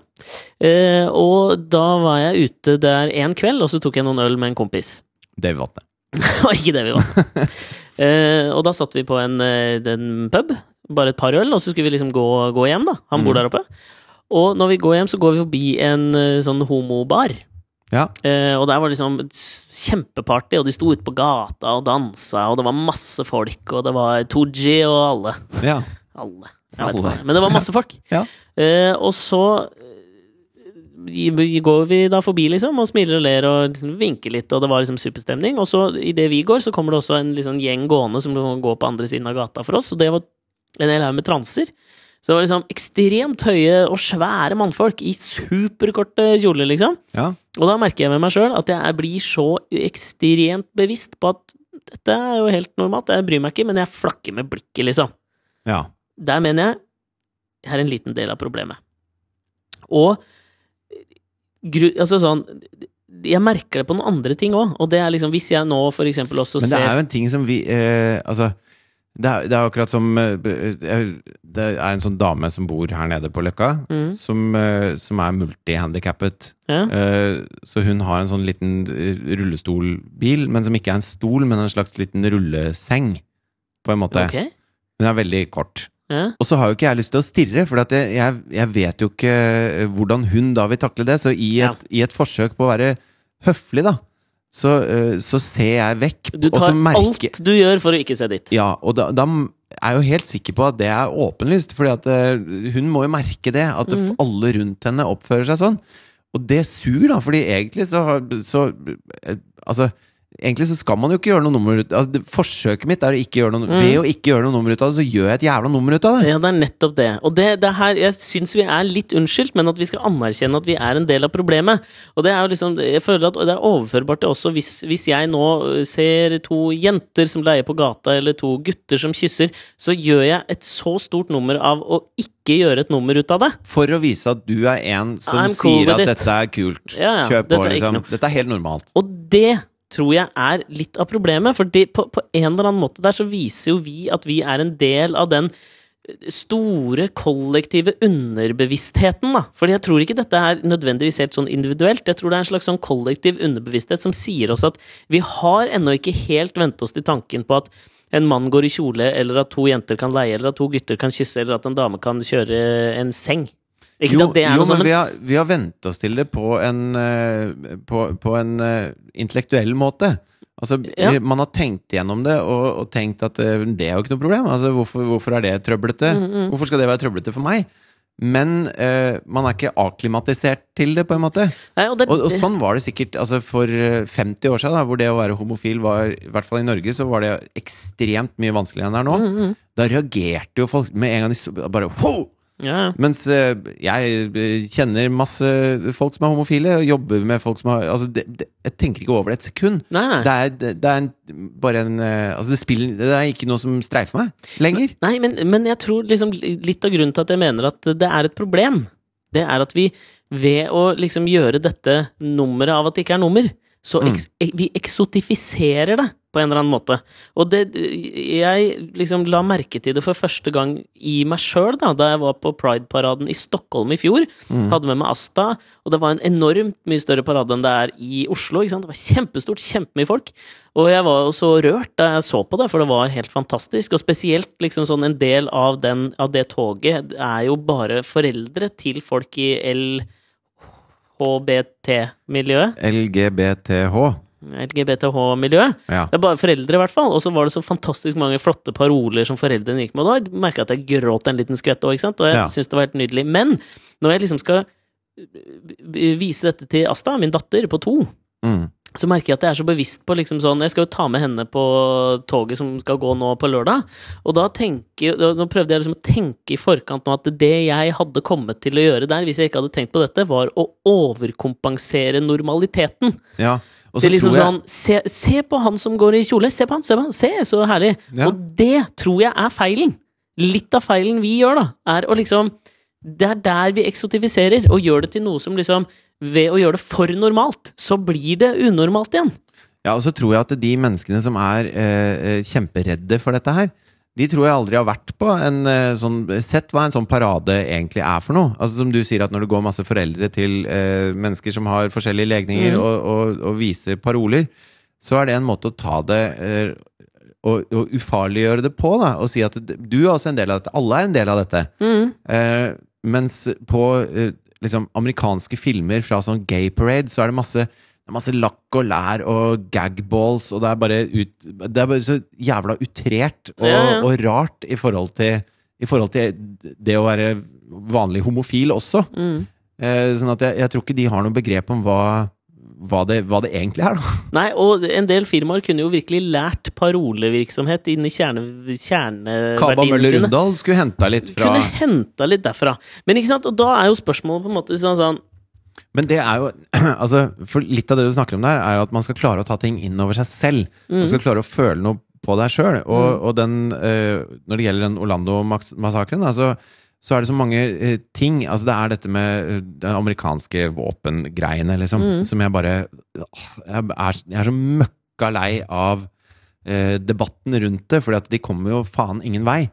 Speaker 1: Eh, og da var jeg ute der en kveld, og så tok jeg noen øl med en kompis.
Speaker 3: Davy Vatne.
Speaker 1: Det var ikke det vi var. Eh, og da satt vi på en, eh, den pub, bare et par øl, og så skulle vi liksom gå, gå hjem, da. Han bor
Speaker 3: Mm.
Speaker 1: der oppe. Og når vi går hjem, så går vi forbi en eh, sånn homobar.
Speaker 3: Ja.
Speaker 1: Eh, og der var det liksom et s- kjempeparty, og de sto ute på gata og dansa, og det var masse folk, og det var Tooji og alle.
Speaker 3: ja.
Speaker 1: Alle. Jeg vet
Speaker 3: Alle.
Speaker 1: ikke hva det er, Men det var masse folk.
Speaker 3: Ja.
Speaker 1: Eh, og så eh, gi- vi- går vi da forbi, liksom, og smiler og ler og liksom vinker litt, og det var liksom superstemning. Og så, idet vi går, så kommer det også en liksom, gjeng gående som går på andre siden av gata for oss, og det var en hel haug med transer. Så det var liksom ekstremt høye og svære mannfolk i superkorte kjoler, liksom.
Speaker 3: ja.
Speaker 1: Og da merker jeg med meg sjøl at jeg er- blir så ekstremt bevisst på at dette er jo helt normalt, jeg bryr meg ikke, men jeg flakker med blikket, liksom.
Speaker 3: Ja.
Speaker 1: Der mener jeg her er en liten del av problemet. Og gru, altså sånn Jeg merker det på noen andre ting òg, og det er liksom Hvis jeg nå for eksempel også
Speaker 3: Men det
Speaker 1: ser
Speaker 3: er jo en ting som vi eh, Altså, det er, det er akkurat som eh, eh, Det er en sånn dame som bor her nede på Løkka,
Speaker 1: Mm.
Speaker 3: som, eh, som er multihandikappet.
Speaker 1: ja,
Speaker 3: Eh, Så hun har en sånn liten eh, rullestolbil, men som ikke er en stol, men en slags liten rulleseng, på en måte.
Speaker 1: Ok?
Speaker 3: Hun er veldig kort.
Speaker 1: Ja,
Speaker 3: Og så har jo ikke jeg lyst til å stirre, for at jeg, jeg, jeg vet jo ikke eh, hvordan hun da vil takle det. Så i
Speaker 1: Ja.
Speaker 3: et, i et forsøk på å være høflig, da, så, eh, så ser jeg vekk.
Speaker 1: du
Speaker 3: og så
Speaker 1: tar
Speaker 3: merker-
Speaker 1: alt du gjør for å ikke se dit.
Speaker 3: Ja, og da, da m- er jeg jo helt sikker på at det er åpenlyst, fordi at eh, hun må jo merke det, at
Speaker 1: Mm.
Speaker 3: det f- alle rundt henne oppfører seg sånn. Og det suger, da, fordi egentlig så har så, eh, Altså, Egentlig så skal man jo ikke gjøre noe nummer ut altså, det- Forsøket mitt er å ikke gjøre noe
Speaker 1: Mm.
Speaker 3: Ved å ikke gjøre noe nummer ut av det, så gjør jeg et jævla nummer ut av det.
Speaker 1: Ja, det er nettopp det. Og det, det er her, jeg syns vi er litt unnskyldt, men at vi skal anerkjenne at vi er en del av problemet. Og det er jo liksom, jeg føler at det er overførbart til også hvis, hvis jeg nå ser to jenter som leier på gata, eller to gutter som kysser, så gjør jeg et så stort nummer av å ikke gjøre et nummer ut av det.
Speaker 3: For å vise at du er en som
Speaker 1: I'm cool
Speaker 3: sier at
Speaker 1: with it.
Speaker 3: dette er kult.
Speaker 1: Ja, ja,
Speaker 3: Kjøp
Speaker 1: dette
Speaker 3: på,
Speaker 1: er ikke
Speaker 3: liksom.
Speaker 1: noe.
Speaker 3: Dette er helt normalt.
Speaker 1: Og det tror jeg er litt av problemet, for det- på, på en eller annen måte der så viser jo vi at vi er en del av den store kollektive underbevisstheten, da. Fordi jeg tror ikke dette er nødvendigvis helt sånn individuelt, jeg tror det er en slags sånn kollektiv underbevissthet som sier oss at vi har ennå ikke helt vent oss til tanken på at en mann går i kjole, eller at to jenter kan leie, eller at to gutter kan kysse, eller at en dame kan kjøre en seng. Ikke
Speaker 3: Jo,
Speaker 1: at det er
Speaker 3: jo
Speaker 1: noe sånn,
Speaker 3: men
Speaker 1: men
Speaker 3: vi har, vi har vent oss til det på en, eh, på, på en eh, intellektuell måte. Altså,
Speaker 1: Ja.
Speaker 3: Man har tenkt gjennom det og, og tenkt at eh, det er jo ikke noe problem. Altså, hvorfor, hvorfor er det trøblete?
Speaker 1: Mm,
Speaker 3: Hvorfor skal det være trøblete for meg? Men eh, man er ikke akklimatisert til det, på en måte.
Speaker 1: Nei, og det,
Speaker 3: Og, og sånn var det sikkert altså for eh, 50 år siden, da, hvor det å være homofil var I hvert fall i Norge så var det ekstremt mye vanskeligere enn det er nå.
Speaker 1: Mm,
Speaker 3: Da reagerte jo folk med en gang de så bare Ho!
Speaker 1: ja, ja.
Speaker 3: Mens eh, jeg eh, kjenner masse folk som er homofile, og jobber med folk som har altså, det, det, Jeg tenker ikke over det et sekund.
Speaker 1: Nei, nei.
Speaker 3: Det er, det, det er en, bare en eh, altså, det, spiller, det er ikke noe som streifer meg lenger.
Speaker 1: Nei, men, men jeg tror liksom litt av grunnen til at jeg mener at det er et problem, det er at vi ved å liksom gjøre dette nummeret av at det ikke er nummer, så
Speaker 3: Mm.
Speaker 1: eks vi eksotifiserer det på en eller annen måte. Og det Jeg liksom la merke til det for første gang i meg sjøl, da, da jeg var på Pride-paraden i Stockholm i fjor. Hadde med meg Asta, og det var en enormt mye større parade enn det er i Oslo. Ikke sant? Det var kjempestort, kjempemye folk. Og jeg var jo så rørt da jeg så på det, for det var helt fantastisk. Og spesielt liksom sånn en del av, den, av det toget er jo bare foreldre til folk i LHBT-miljøet.
Speaker 3: LGBTH.
Speaker 1: LGBTH-miljøet.
Speaker 3: Ja.
Speaker 1: Det er bare foreldre, i hvert fall. Og så var det så fantastisk mange flotte paroler som foreldrene gikk med. Og da merka jeg at jeg gråt en liten skvett òg, ikke sant. Og jeg
Speaker 3: Ja.
Speaker 1: synes det var helt nydelig. Men når jeg liksom skal eh, vise dette til Asta, min datter på to,
Speaker 3: Mm.
Speaker 1: så merker jeg at jeg er så bevisst på liksom sånn Jeg skal jo ta med henne på toget som skal gå nå på lørdag. Og da tenker da- Nå prøvde jeg liksom å tenke i forkant nå at det jeg hadde kommet til å gjøre der, hvis jeg ikke hadde tenkt på dette, var å overkompensere normaliteten.
Speaker 3: ja. Og
Speaker 1: Det
Speaker 3: så
Speaker 1: er liksom
Speaker 3: tror jeg
Speaker 1: sånn se, se på han som går i kjole! Se på han! Se, på han, se så herlig!
Speaker 3: Ja.
Speaker 1: Og det tror jeg er feilen. Litt av feilen vi gjør, da, er å liksom Det er der vi eksotifiserer, og gjør det til noe som liksom Ved å gjøre det for normalt, så blir det unormalt igjen.
Speaker 3: Ja, og så tror jeg at de menneskene som er eh, eh, kjemperedde for dette her, de tror jeg aldri har vært på en eh, sånn Sett hva en sånn parade egentlig er for noe. Altså Som du sier, at når det går masse foreldre til eh, mennesker som har forskjellige legninger,
Speaker 1: Mhm.
Speaker 3: og, og, og viser paroler, så er det en måte å ta det eh, og, og ufarliggjøre det på, da. Og si at d- du er også en del av dette. Alle er en del av dette.
Speaker 1: Mm.
Speaker 3: Eh, mens på eh, liksom amerikanske filmer fra sånn gay parade, så er det masse det er masse lakk og lær og gagballs, og det er bare, ut, det er bare så jævla utrert og,
Speaker 1: Ja, ja.
Speaker 3: og rart i forhold, til, i forhold til det å være vanlig homofil også. Eh, sånn at jeg, jeg tror ikke de har noe begrep om hva, hva, det, hva det egentlig er. Da.
Speaker 1: Nei, og en del firmaer kunne jo virkelig lært parolevirksomhet inn i kjerne,
Speaker 3: Kaba
Speaker 1: kjerneverdiene
Speaker 3: Møller
Speaker 1: sine.
Speaker 3: Rundal skulle henta litt fra
Speaker 1: Kunne henta litt derfra. Men ikke sant, og da er jo spørsmålet på en måte sånn sånn
Speaker 3: Men det er jo altså, For litt av det du snakker om der, er jo at man skal klare å ta ting inn over seg selv. Man
Speaker 1: Mm.
Speaker 3: skal klare å føle noe på deg sjøl. Og, og den eh, Når det gjelder den Orlando-massakren, da, så, så er det så mange eh, ting Altså, det er dette med eh, den amerikanske våpengreiene, liksom,
Speaker 1: Mm.
Speaker 3: som jeg bare åh, jeg, er, jeg er så møkka lei av eh, debatten rundt det, fordi at de kommer jo faen ingen vei.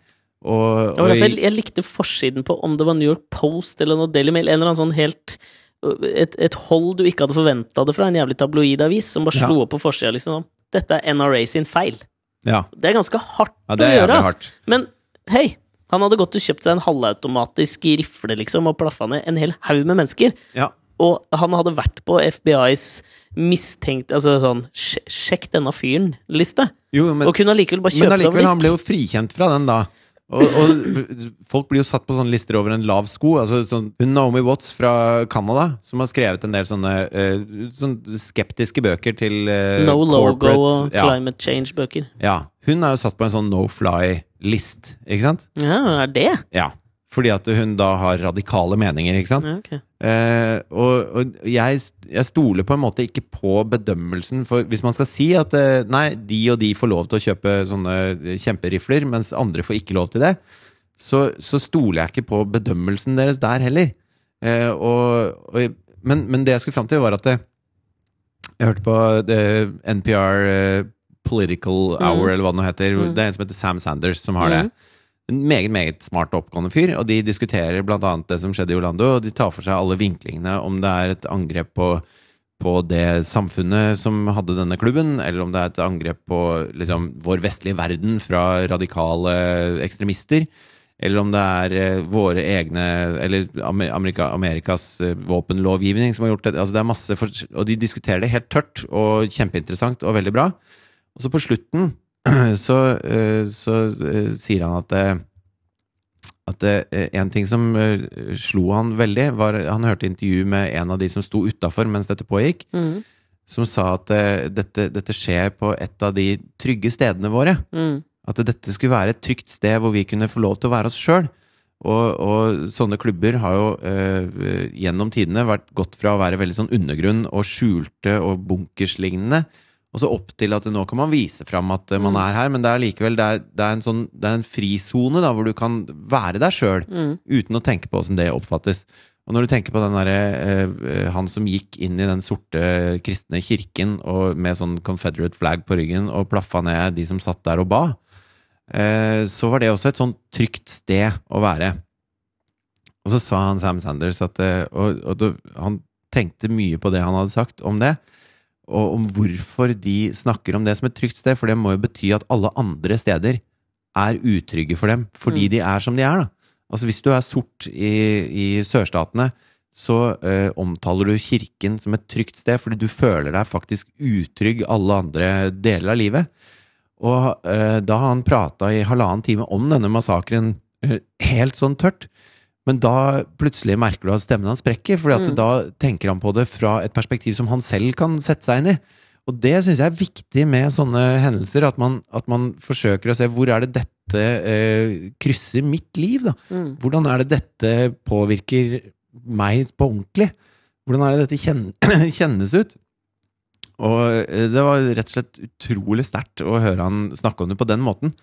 Speaker 3: Og,
Speaker 1: det var
Speaker 3: og
Speaker 1: derfor
Speaker 3: i-
Speaker 1: jeg, jeg likte forsiden på om det var New York Post eller noe Daily Mail. En eller annen sånn helt øh, et, et hold du ikke hadde forventa det fra, en jævlig tabloid avis som bare
Speaker 3: Ja.
Speaker 1: slo opp på forsida liksom sånn. Dette er NRA sin feil.
Speaker 3: ja,
Speaker 1: Det er ganske hardt
Speaker 3: ja, det
Speaker 1: å
Speaker 3: er
Speaker 1: gjøre,
Speaker 3: jævlig
Speaker 1: ass.
Speaker 3: hardt.
Speaker 1: Men hei, han hadde gått og kjøpt seg en halvautomatisk rifle, liksom, og plaffa ned en hel haug med mennesker.
Speaker 3: Ja.
Speaker 1: Og han hadde vært på FBIs mistenkt Altså sånn sj- 'sjekk denne fyren'-liste.
Speaker 3: Jo, jo, men,
Speaker 1: Og kunne allikevel bare
Speaker 3: Men
Speaker 1: kjøpe det over
Speaker 3: allikevel, han
Speaker 1: disk.
Speaker 3: ble jo frikjent fra den da. Og, og folk blir jo satt på sånne lister over en lav sko. Altså sånn, hun Naomi Watts fra Canada, som har skrevet en del sånne, eh, sånn skeptiske bøker til eh,
Speaker 1: No logo
Speaker 3: corporate-
Speaker 1: og
Speaker 3: ja,
Speaker 1: climate change-bøker.
Speaker 3: ja. Hun er jo satt på en sånn no fly-list, ikke sant?
Speaker 1: Ja, er det?
Speaker 3: Ja. Fordi at hun da har radikale meninger, ikke sant?
Speaker 1: Ja, ok.
Speaker 3: Eh, og og jeg, jeg stoler på en måte ikke på bedømmelsen, for hvis man skal si at eh, nei, de og de får lov til å kjøpe sånne eh, kjemperifler, mens andre får ikke lov til det, så, så stoler jeg ikke på bedømmelsen deres der heller. Eh, og, og, men, men det jeg skulle fram til, var at det, jeg hørte på eh, NPR eh, Political Hour, eller hva det nå heter. Det er en som heter Sam Sanders, som har det. En meget meget smart og oppgående fyr. Og de diskuterer blant annet det som skjedde i Orlando, og de tar for seg alle vinklingene, om det er et angrep på på det samfunnet som hadde denne klubben, eller om det er et angrep på liksom, vår vestlige verden fra radikale ekstremister, eller om det er eh, våre egne Eller Amer- Amerika, Amerikas eh, våpenlovgivning som har gjort det. Altså, det er masse fors- og de diskuterer det helt tørt og kjempeinteressant og veldig bra. Og så på slutten så, eh, så eh, sier han at eh, at eh, en ting som eh, slo han veldig, var han hørte intervju med en av de som sto utafor mens dette pågikk,
Speaker 1: Mhm.
Speaker 3: som sa at eh, dette, dette skjer på et av de trygge stedene våre.
Speaker 1: Mhm.
Speaker 3: At dette skulle være et trygt sted hvor vi kunne få lov til å være oss sjøl. Og, og sånne klubber har jo eh, gjennom tidene vært gått fra å være veldig sånn undergrunn og skjulte og bunkerslignende, og så opp til at nå kan man vise fram at eh, man er her, men det er likevel det er, det er en, sånn, det er en frisone da, hvor du kan være deg sjøl
Speaker 1: Mhm.
Speaker 3: uten å tenke på åssen det oppfattes. Og når du tenker på den der, eh, eh, han som gikk inn i den sorte kristne kirken og med sånn confederate flag på ryggen og plaffa ned de som satt der og ba, eh, så var det også et sånn trygt sted å være. Og så sa han Sam Sanders at eh, og, og da, han tenkte mye på det han hadde sagt om det, og om hvorfor de snakker om det som et trygt sted, for det må jo bety at alle andre steder er utrygge for dem, fordi
Speaker 1: Mm.
Speaker 3: de er som de er, da. Altså Hvis du er sort i, i sørstatene, så eh, omtaler du kirken som et trygt sted, fordi du føler deg faktisk utrygg alle andre deler av livet. Og eh, da har han prata i halvannen time om denne massakren eh, helt sånn tørt. Men da plutselig merker du at stemmen hans sprekker, for
Speaker 1: Mm.
Speaker 3: da tenker han på det fra et perspektiv som han selv kan sette seg inn i. Og det syns jeg er viktig med sånne hendelser, at man, at man forsøker å se hvor er det dette eh, krysser mitt liv, da?
Speaker 1: Mhm.
Speaker 3: Hvordan er det dette påvirker meg på ordentlig? Hvordan er det dette kjen kjennes ut? Og eh, det var rett og slett utrolig sterkt å høre han snakke om det på den måten.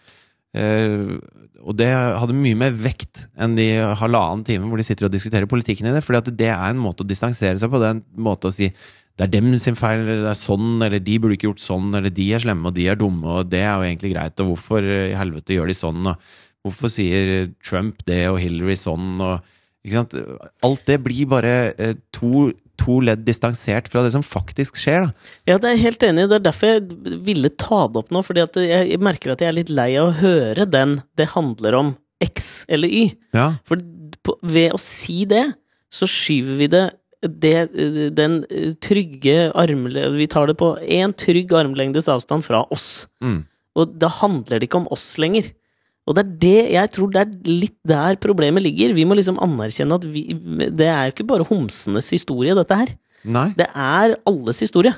Speaker 3: Eh, og det hadde mye mer vekt enn de halvannen timen hvor de sitter og diskuterer politikken i det. Fordi at det er en måte å distansere seg på. Det er en måte å si det er dem sin feil, eller det er sånn, eller de burde ikke gjort sånn, eller de er slemme, og de er dumme, og det er jo egentlig greit, og hvorfor eh, i helvete gjør de sånn, og hvorfor sier Trump det, og Hillary sånn, og ikke sant? Alt det blir bare eh, to, to ledd distansert fra det som faktisk skjer, da.
Speaker 1: Ja, det er jeg helt enig. i. Det er derfor jeg ville ta det opp nå. Fordi at jeg jeg merker at jeg er litt lei av å høre den det handler om X eller Y.
Speaker 3: Ja,
Speaker 1: For på, ved å si det, så skyver vi det, det den trygge armle... Vi tar det på én trygg armlengdes avstand fra oss.
Speaker 3: mm.
Speaker 1: Og da handler det ikke om oss lenger. Og det er det jeg tror det er litt der problemet ligger. Vi må liksom anerkjenne at vi, det er jo ikke bare homsenes historie, dette her.
Speaker 3: Nei.
Speaker 1: Det er alles historie.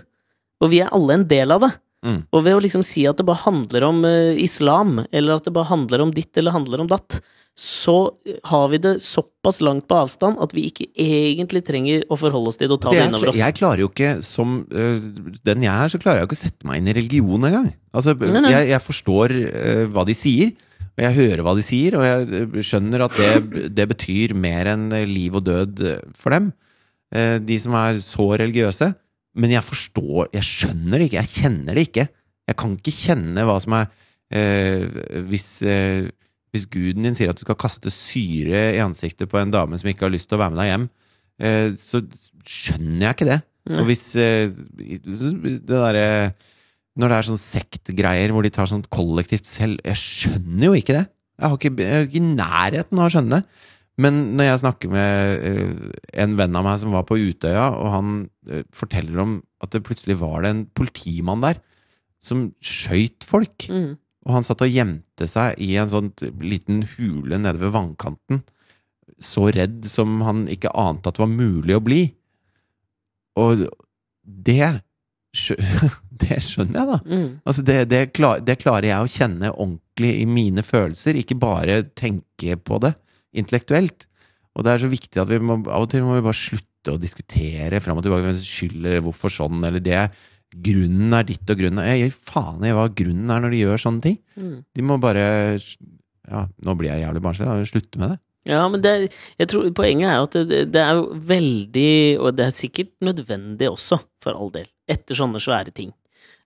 Speaker 1: Og vi er alle en del av det.
Speaker 3: Mm.
Speaker 1: Og ved å liksom si at det bare handler om eh, islam, eller at det bare handler om ditt eller handler om datt, så eh, har vi det såpass langt på avstand at vi ikke egentlig trenger å forholde oss til det og ta det
Speaker 3: Så Altså, jeg,
Speaker 1: innover oss.
Speaker 3: jeg klarer jo ikke, som øh, den jeg er, så klarer jeg jo ikke å sette meg inn i religion engang. Altså,
Speaker 1: Nei, nei.
Speaker 3: Jeg, jeg forstår øh, hva de sier, og jeg hører hva de sier, og jeg øh, skjønner at det, det betyr mer enn øh, liv og død øh, for dem, øh, de som er så religiøse. Men jeg forstår Jeg skjønner det ikke. Jeg kjenner det ikke. Jeg kan ikke kjenne hva som er øh, Hvis øh, hvis guden din sier at du skal kaste syre i ansiktet på en dame som ikke har lyst til å være med deg hjem, eh, så skjønner jeg ikke det. Og hvis eh, det derre Når det er sånn sektgreier hvor de tar sånn kollektivt selv Jeg skjønner jo ikke det. Jeg har ikke, jeg er ikke i nærheten av å skjønne det. Men når jeg snakker med eh, en venn av meg som var på Utøya, og han eh, forteller om at det plutselig var det en politimann der som skøyt folk.
Speaker 1: Mm.
Speaker 3: Og han satt og gjemte seg i en sånn t- liten hule nede ved vannkanten. Så redd som han ikke ante at det var mulig å bli. Og det skjø- Det skjønner jeg, da.
Speaker 1: Mm.
Speaker 3: Altså det, det, klar, det klarer jeg å kjenne ordentlig i mine følelser, ikke bare tenke på det intellektuelt. Og det er så viktig at vi må, av og til må vi bare slutte å diskutere fram og tilbake hvem som skylder hvorfor sånn, eller det. Grunnen er ditt, og grunnen er Jeg gir faen i hva grunnen er når de gjør sånne ting.
Speaker 1: Mm.
Speaker 3: De må bare Ja, nå blir jeg jævlig barnslig, da. Slutte med det.
Speaker 1: Ja, men det, jeg tror poenget er at det, det er jo veldig Og det er sikkert nødvendig også, for all del, etter sånne svære ting.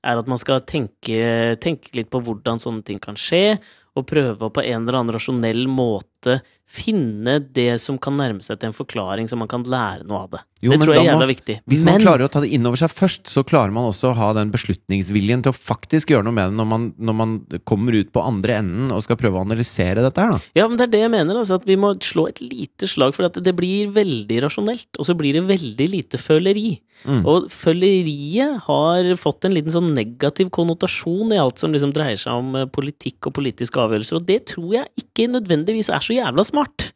Speaker 1: Er at man skal tenke, tenke litt på hvordan sånne ting kan skje, og prøve å på en eller annen rasjonell måte finne det som kan nærme seg til en forklaring, så man kan lære noe av det.
Speaker 3: Jo,
Speaker 1: det
Speaker 3: men
Speaker 1: tror jeg
Speaker 3: da
Speaker 1: er
Speaker 3: må-
Speaker 1: jævla viktig.
Speaker 3: Hvis man
Speaker 1: men
Speaker 3: klarer å ta det inn over seg først, så klarer man også å ha den beslutningsviljen til å faktisk gjøre noe med det når man, når man kommer ut på andre enden og skal prøve å analysere dette her, da.
Speaker 1: Ja, men det er det jeg mener, altså, at vi må slå et lite slag, for at det blir veldig rasjonelt, og så blir det veldig lite føleri.
Speaker 3: Mm.
Speaker 1: Og føleriet har fått en liten sånn negativ konnotasjon i alt som liksom dreier seg om eh, politikk og politiske avgjørelser, og det tror jeg ikke nødvendigvis er så jævla smart.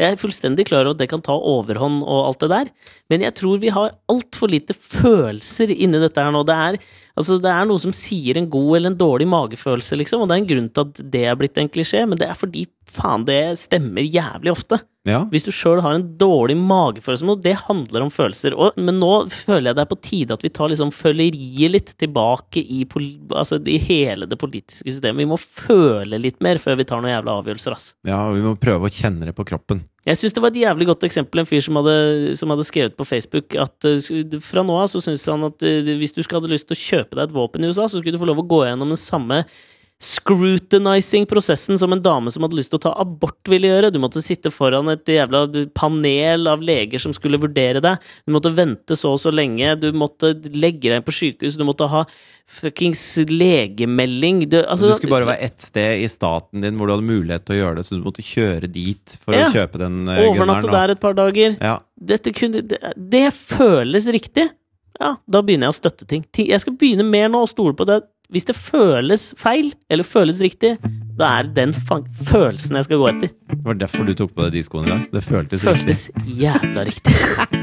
Speaker 1: Jeg er fullstendig klar over at det kan ta overhånd og alt det der, men jeg tror vi har altfor lite følelser inni dette her nå. Det er, altså, det er noe som sier en god eller en dårlig magefølelse, liksom, og det er en grunn til at det er blitt en klisjé, men det er fordi faen, det stemmer jævlig ofte.
Speaker 3: Ja.
Speaker 1: Hvis du sjøl har en dårlig magefølelse om noe, det handler om følelser. Og, men nå føler jeg det er på tide at vi tar liksom føleriet litt tilbake i, pol- altså, i hele det politiske systemet. Vi må føle litt mer før vi tar noen jævla avgjørelser, ass.
Speaker 3: ja, og vi må prøve å kjenne det på kroppen.
Speaker 1: Jeg syns det var et jævlig godt eksempel en fyr som hadde, som hadde skrevet på Facebook at eh, sk- fra nå av så syns han at eh, hvis du skulle hadde lyst til å kjøpe deg et våpen i USA, så skulle du få lov å gå gjennom den samme scrutinizing-prosessen som en dame som hadde lyst til å ta abort, ville gjøre. Du måtte sitte foran et jævla panel av leger som skulle vurdere deg. Du måtte vente så og så lenge. Du måtte legge deg på sykehus. Du måtte ha fuckings legemelding. Du,
Speaker 3: Du
Speaker 1: altså,
Speaker 3: skulle bare være ett sted i staten din hvor du hadde mulighet til å gjøre det, så du måtte kjøre dit for
Speaker 1: Ja.
Speaker 3: å kjøpe den eh,
Speaker 1: Overnatte
Speaker 3: gunneren. da.
Speaker 1: der et par dager.
Speaker 3: Ja.
Speaker 1: dette kunne, det, det føles riktig. Ja, da begynner jeg å støtte ting. Ting- Jeg skal begynne mer nå å stole på det. Hvis det føles feil, eller føles riktig, da er det den fa- følelsen jeg skal gå etter.
Speaker 3: Det var derfor du tok på deg de skoene i dag. Det føltes riktig.
Speaker 1: Føltes jævla riktig.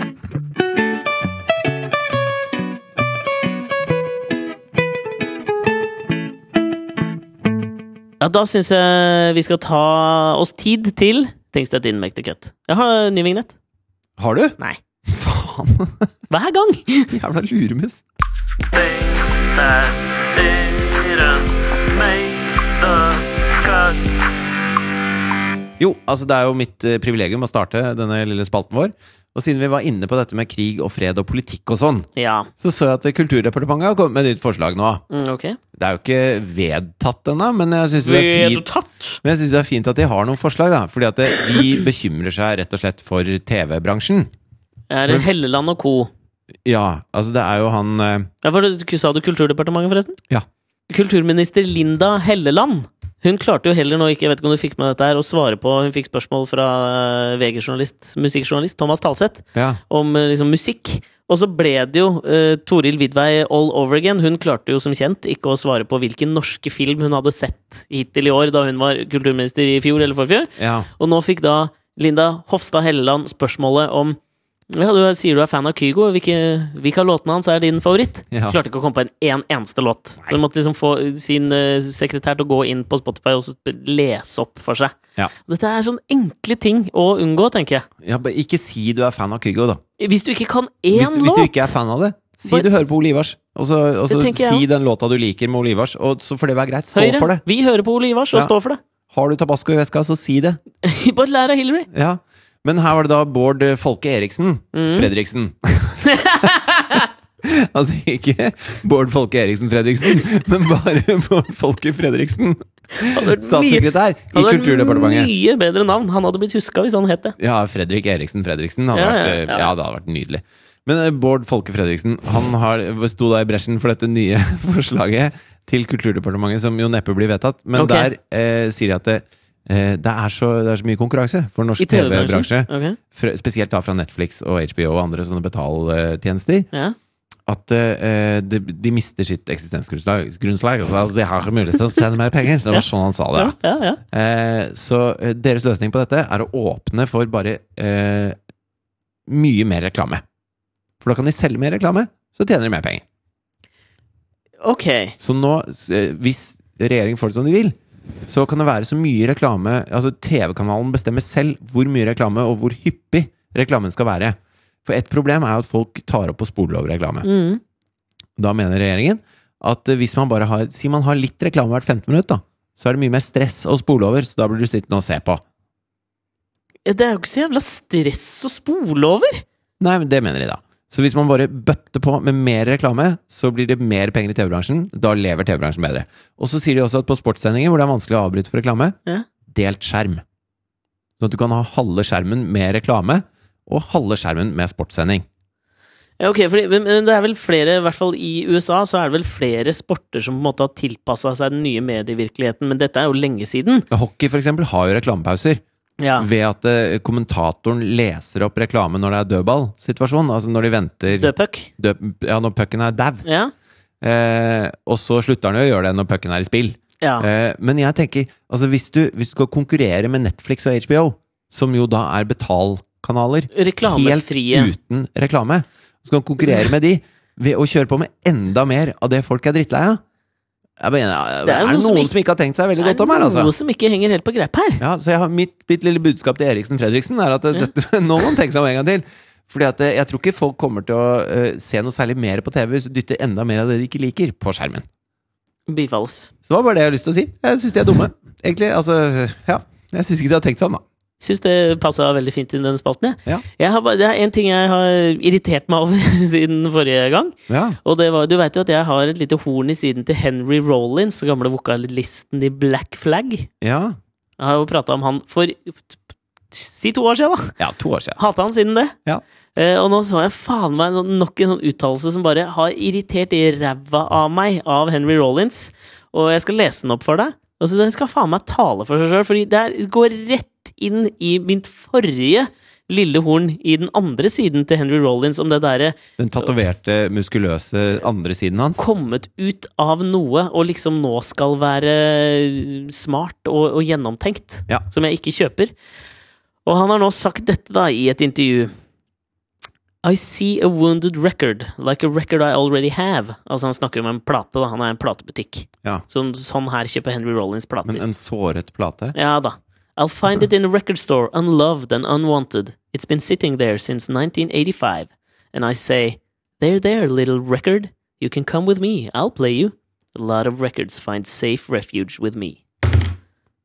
Speaker 1: Ja, da syns jeg vi skal ta oss tid til Things That Didn't Make The Cut. Jeg har ny vignett.
Speaker 3: Har du?
Speaker 1: Nei.
Speaker 3: Faen!
Speaker 1: Hver gang!
Speaker 3: Jævla luremus.
Speaker 2: things that didn't make the cut.
Speaker 3: Jo, altså det er jo mitt eh, privilegium å starte denne lille spalten vår. Og siden vi var inne på dette med krig og fred og politikk og sånn,
Speaker 1: Ja.
Speaker 3: så så jeg at Kulturdepartementet har kommet med et nytt forslag nå.
Speaker 1: Mm, ok.
Speaker 3: Det er jo ikke vedtatt ennå, men jeg syns det, er fint-
Speaker 1: tatt?
Speaker 3: men jeg synes det er fint at de har noen forslag. da Fordi at det- de bekymrer seg rett og slett for TV-bransjen.
Speaker 1: Er det Helleland og co.
Speaker 3: Ja, altså det er jo han eh,
Speaker 1: Ja, var det, sa du Kulturdepartementet, forresten?
Speaker 3: Ja.
Speaker 1: Kulturminister Linda Helleland. Hun klarte jo heller nå, ikke, jeg vet ikke om du fikk med dette her, å svare på Hun fikk spørsmål fra eh, VG-journalist, musikkjournalist Thomas Talseth
Speaker 3: Ja,
Speaker 1: om eh, liksom, musikk. Og så ble det jo eh, Toril Vidvei all over again. Hun klarte jo som kjent ikke å svare på hvilken norske film hun hadde sett hittil i år, da hun var kulturminister i fjor eller forfjor.
Speaker 3: ja.
Speaker 1: Og nå fikk da Linda Hofstad Helleland spørsmålet om ja, du sier du er fan av Kygo. Hvilke, hvilke av låtene hans er din favoritt?
Speaker 3: Ja.
Speaker 1: Klarte ikke å komme på en, en eneste låt. Så Hun måtte liksom få sin eh, sekretær til å gå inn på Spotify og så sp- lese opp for seg.
Speaker 3: Ja.
Speaker 1: Dette er sånne enkle ting å unngå, tenker jeg.
Speaker 3: ja bare Ikke si du er fan av Kygo, da.
Speaker 1: Hvis du ikke kan
Speaker 3: Hvis,
Speaker 1: én
Speaker 3: hvis du
Speaker 1: låt!
Speaker 3: ikke er fan av det, si
Speaker 1: Bare-
Speaker 3: du hører på Ole Ivars. Og så, og så
Speaker 1: Det tenker jeg
Speaker 3: si
Speaker 1: også.
Speaker 3: den låta du liker med Ole Ivars, og så får det være greit. Stå
Speaker 1: Høyre,
Speaker 3: for det.
Speaker 1: vi hører på Ole Ivars og
Speaker 3: Ja.
Speaker 1: står for det.
Speaker 3: Har du tabasco i veska, så si det.
Speaker 1: Bare lær av Hillary.
Speaker 3: Ja. Men her var det da Bård eh, Folke Eriksen. Fredriksen. altså ikke Bård Folke Eriksen Fredriksen, men bare Bård Folke Fredriksen.
Speaker 1: Hadde vært mye-
Speaker 3: Statssekretær i
Speaker 1: hadde vært
Speaker 3: Kulturdepartementet.
Speaker 1: Mye bedre navn. Han hadde blitt huska hvis han het det.
Speaker 3: Ja, Fredrik Eriksen Fredriksen. Hadde
Speaker 1: Ja, ja,
Speaker 3: vært, eh,
Speaker 1: ja.
Speaker 3: ja, det hadde vært nydelig. Men eh, Bård Folke Fredriksen han har, sto da i bresjen for dette nye forslaget til Kulturdepartementet, som jo neppe blir vedtatt. Men
Speaker 1: Ok.
Speaker 3: der eh, sier de at det, eh, det, er så, det er så mye konkurranse for norsk
Speaker 1: I TV-bransjen.
Speaker 3: TV-bransje.
Speaker 1: Ok,
Speaker 3: Fra- Spesielt da fra Netflix og HBO og andre sånne betaltjenester.
Speaker 1: ja.
Speaker 3: at eh, de, de mister sitt eksistensgrunnslag. grunnslag, altså, altså, de har ikke mulighet til å tjene mer penger. Så det var sånn han sa det.
Speaker 1: Ja, ja, ja.
Speaker 3: Eh, så eh, deres løsning på dette er å åpne for bare eh, mye mer reklame. For da kan de selge mer reklame, så tjener de mer penger.
Speaker 1: Ok.
Speaker 3: Så nå, s- eh, hvis regjeringen får det som de vil, så kan det være så mye reklame Altså TV-kanalen bestemmer selv hvor mye reklame og hvor hyppig reklamen skal være. For et problem er at folk tar opp og spoler over reklame.
Speaker 1: Mm.
Speaker 3: Da mener regjeringen at eh, hvis man bare har Si man har litt reklame hvert 15 minutt, da. Så er det mye mer stress å spole over, så da blir du sittende og se på.
Speaker 1: Det er jo ikke så jævla stress å spole over!
Speaker 3: Nei, men det mener de da. Så hvis man bare bøtter på med mer reklame, så blir det mer penger i TV-bransjen. Da lever TV-bransjen bedre. Og så sier de også at på sportssendinger hvor det er vanskelig å avbryte for reklame,
Speaker 1: Ja.
Speaker 3: delt skjerm. Sånn at du kan ha halve skjermen med reklame, og halve skjermen med sportssending.
Speaker 1: Ja, ok, fordi, men- men det er vel flere, i hvert fall i USA, så er det vel flere sporter som på en måte har tilpassa seg den nye medievirkeligheten, men dette er jo lenge siden.
Speaker 3: Hockey for eksempel har jo reklamepauser.
Speaker 1: Ja.
Speaker 3: Ved at eh, kommentatoren leser opp reklame når det er dødballsituasjon. Altså når de venter
Speaker 1: Dødpuck.
Speaker 3: død- Ja, når pucken er dau.
Speaker 1: Ja.
Speaker 3: Eh, og så slutter han jo å gjøre det når pucken er i spill.
Speaker 1: ja.
Speaker 3: Eh, men jeg tenker, altså hvis du, hvis du skal konkurrere med Netflix og HBO, som jo da er betalkanaler, helt
Speaker 1: Eh, Reklamefrie.
Speaker 3: uten reklame, så kan du konkurrere med de ved å kjøre på med enda mer av det folk er drittlei av. Jeg mener,
Speaker 1: Det
Speaker 3: det
Speaker 1: er
Speaker 3: er,
Speaker 1: jo
Speaker 3: det
Speaker 1: noe som
Speaker 3: noen
Speaker 1: ikke-
Speaker 3: som ikke har tenkt seg veldig
Speaker 1: Det
Speaker 3: godt om her,
Speaker 1: er noe
Speaker 3: altså.
Speaker 1: som ikke henger helt på greip her.
Speaker 3: Ja, så jeg har mitt, mitt lille budskap til Eriksen Fredriksen er at eh, dette, nå må han tenke seg om en gang til. Fordi at eh, jeg tror ikke folk kommer til å eh, se noe særlig mer på TV hvis du dytter enda mer av det de ikke liker, på skjermen.
Speaker 1: Bifalles.
Speaker 3: Så det var bare det jeg hadde lyst til å si. Jeg syns de er dumme. Egentlig, altså, ja. Jeg syns ikke de har tenkt seg om, da.
Speaker 1: Syns det passa veldig fint i den spalten, jeg.
Speaker 3: Ja.
Speaker 1: jeg har bare, det er én ting jeg har irritert meg over siden forrige gang.
Speaker 3: Ja.
Speaker 1: Og det var, du vet jo at jeg har et lite horn i siden til Henry Rollins, den gamle vokalisten i Black Flag. Jeg
Speaker 3: Ja.
Speaker 1: har jo prata om han for si to år siden, da.
Speaker 3: to år siden.
Speaker 1: Hata han siden det.
Speaker 3: Ja.
Speaker 1: Eh, og nå så jeg faen meg en sånn, nok en sånn uttalelse som bare har irritert i ræva av meg, av Henry Rollins. Og jeg skal lese den opp for deg. Og så Den skal faen meg tale for seg sjøl, fordi det her går rett inn i mitt forrige lille horn i den andre siden til Henry Rollins om det derre
Speaker 3: Den tatoverte, muskuløse andre siden hans.
Speaker 1: kommet ut av noe og liksom nå skal være smart og, og gjennomtenkt,
Speaker 3: Ja.
Speaker 1: som jeg ikke kjøper. Og han har nå sagt dette da i et intervju. I see a wounded record, like a record I already have. Altså Han snakker om en plate, da. Han er en platebutikk.
Speaker 3: Ja.
Speaker 1: Sånn, sånn her kjøper Henry Rollins plater.
Speaker 3: Men en såret plate.
Speaker 1: Ja da. I'll find it in a record store, unloved and unwanted. It's been sitting there since 1985. And I say, There, there, little record. You can come with me. I'll play you. A lot of records find safe refuge with me.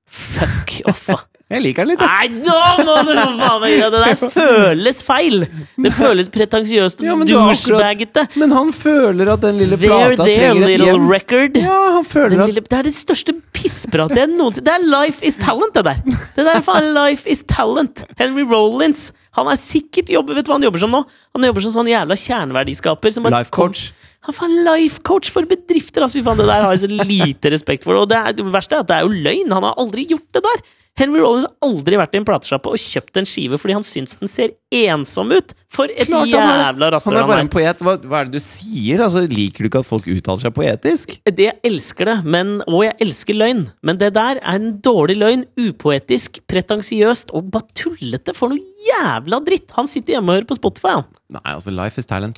Speaker 1: Fuck off, da.
Speaker 3: Jeg liker den litt,
Speaker 1: Nei, nå må du for faen meg gjøre det! Det der føles feil! Det føles pretensiøst og
Speaker 3: Ja, men du har akkurat-
Speaker 1: douchebagete.
Speaker 3: Men han føler at den lille
Speaker 1: There,
Speaker 3: plata
Speaker 1: there,
Speaker 3: trenger et
Speaker 1: little
Speaker 3: hjem.
Speaker 1: record.
Speaker 3: Ja, han
Speaker 1: Den
Speaker 3: føler at
Speaker 1: lille, det er det største pisspratet jeg noensinne Det er Life is Talent, det der! Det der er faen Life is Talent! Henry Rollins. Han er sikkert jobber, Vet du hva han jobber som nå? Han jobber som sånn jævla kjerneverdiskaper. Som bare,
Speaker 3: Life coach.
Speaker 1: Han er faen life coach for bedrifter! Altså, fy faen, Det der har jeg så lite respekt for. Og det, er, det verste er at det er jo løgn! Han har aldri gjort det der! Henry Rollins har aldri vært i en platesjappe og kjøpt en skive fordi han syns den ser ensom ut! For et
Speaker 3: Klart han er-
Speaker 1: jævla
Speaker 3: Han
Speaker 1: rasshøl
Speaker 3: er
Speaker 1: han
Speaker 3: bare
Speaker 1: er!
Speaker 3: en poet. Hva, hva er det du sier? Altså, liker du ikke at folk uttaler seg poetisk?
Speaker 1: Eh, Det jeg elsker det, men, og jeg elsker løgn, men det der er en dårlig løgn. Upoetisk, pretensiøst og bare tullete for noe jævla dritt! Han sitter hjemme og hører på Spotify, han.
Speaker 3: Nei, altså, life is talent.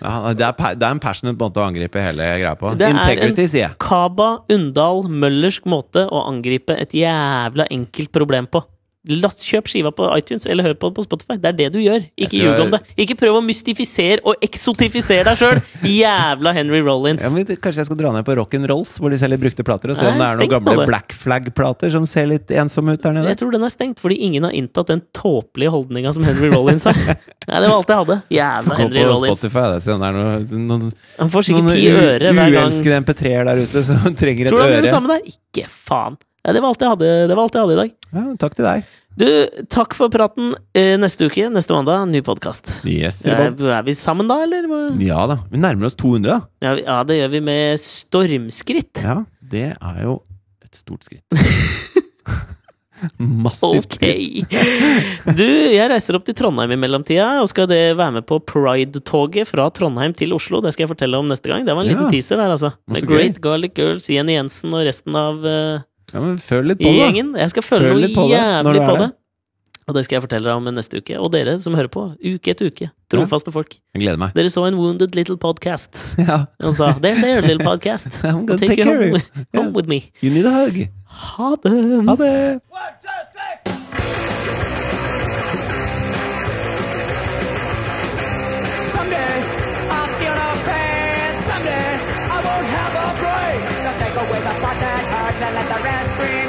Speaker 3: Ja, det, er, pa- det er en passionate måte å angripe hele greia på.
Speaker 1: Det er en-
Speaker 3: Integrity, sier jeg.
Speaker 1: Kaba Undal Møllersk måte å angripe et jævla enkelt problem på. Last, kjøp skiva på iTunes eller hør på den på Spotify. Det er det du gjør. Ikke
Speaker 3: Jeg skal-
Speaker 1: ljug om det. Ikke prøv å mystifisere og eksotifisere deg sjøl! Jævla Henry Rollins.
Speaker 3: Ja, men det- Kanskje jeg skal dra ned på Rock'n'Rolls, hvor de selger brukte plater, og se om det
Speaker 1: Nei,
Speaker 3: er noen
Speaker 1: tenk på
Speaker 3: gamle
Speaker 1: det.
Speaker 3: Black Flag-plater som ser litt ensomme ut der nede.
Speaker 1: Jeg tror den er stengt, fordi ingen har inntatt den tåpelige holdninga som Henry Rollins har. Nei, det var alt jeg hadde. Jævla
Speaker 3: Gå
Speaker 1: Henry
Speaker 3: på
Speaker 1: Rollins.
Speaker 3: Spotify da, se om det er noen, noen,
Speaker 1: Han får
Speaker 3: noen
Speaker 1: sikkert ti øre hver gang.
Speaker 3: uelskede MP3-er der ute som trenger et
Speaker 1: Tror du han gjør det
Speaker 3: øre.
Speaker 1: samme der? Ikke faen. Nei, det var alt jeg hadde, det var alt jeg hadde i dag.
Speaker 3: Ja, takk til deg.
Speaker 1: Du, takk for praten. Eh, Neste uke, neste mandag, ny podkast.
Speaker 3: Yes,
Speaker 1: Er,
Speaker 3: Robert.
Speaker 1: er vi sammen da, eller? hva?
Speaker 3: ja da. Vi nærmer oss 200, da.
Speaker 1: Ja, vi- ja, det gjør vi med stormskritt.
Speaker 3: Ja, det er jo et stort skritt. Massivt.
Speaker 1: Ok! Du, jeg reiser opp til Trondheim i mellomtida, og skal det være med på Pride-toget fra Trondheim til Oslo. Det skal jeg fortelle om neste gang. Det var en liten
Speaker 3: Ja.
Speaker 1: teaser der, altså.
Speaker 3: Men
Speaker 1: Med
Speaker 3: så gøy.
Speaker 1: Great Garlic Girls, Jenny Jensen og resten av eh,
Speaker 3: Ja, men føl litt på
Speaker 1: i
Speaker 3: det. da.
Speaker 1: gjengen. Jeg skal føle
Speaker 3: Føl
Speaker 1: noe
Speaker 3: litt på det når du
Speaker 1: jævlig
Speaker 3: er
Speaker 1: på
Speaker 3: der.
Speaker 1: det. Og det skal jeg fortelle deg om neste uke. Og dere som hører på, uke etter uke. Trofaste folk.
Speaker 3: Jeg gleder meg.
Speaker 1: Dere så en Wounded Little Podcast.
Speaker 3: Ja.
Speaker 1: Og sa There, there, little podcast.
Speaker 3: I'm gonna
Speaker 1: Take you
Speaker 3: take care of
Speaker 1: home,
Speaker 3: you.
Speaker 1: home with me.
Speaker 3: You need a hug.
Speaker 1: Ha det!
Speaker 3: Ha det!
Speaker 4: Someday I'll feel no pain. Someday I won't have a brain. They'll take away the part that hurts and let the rest breathe.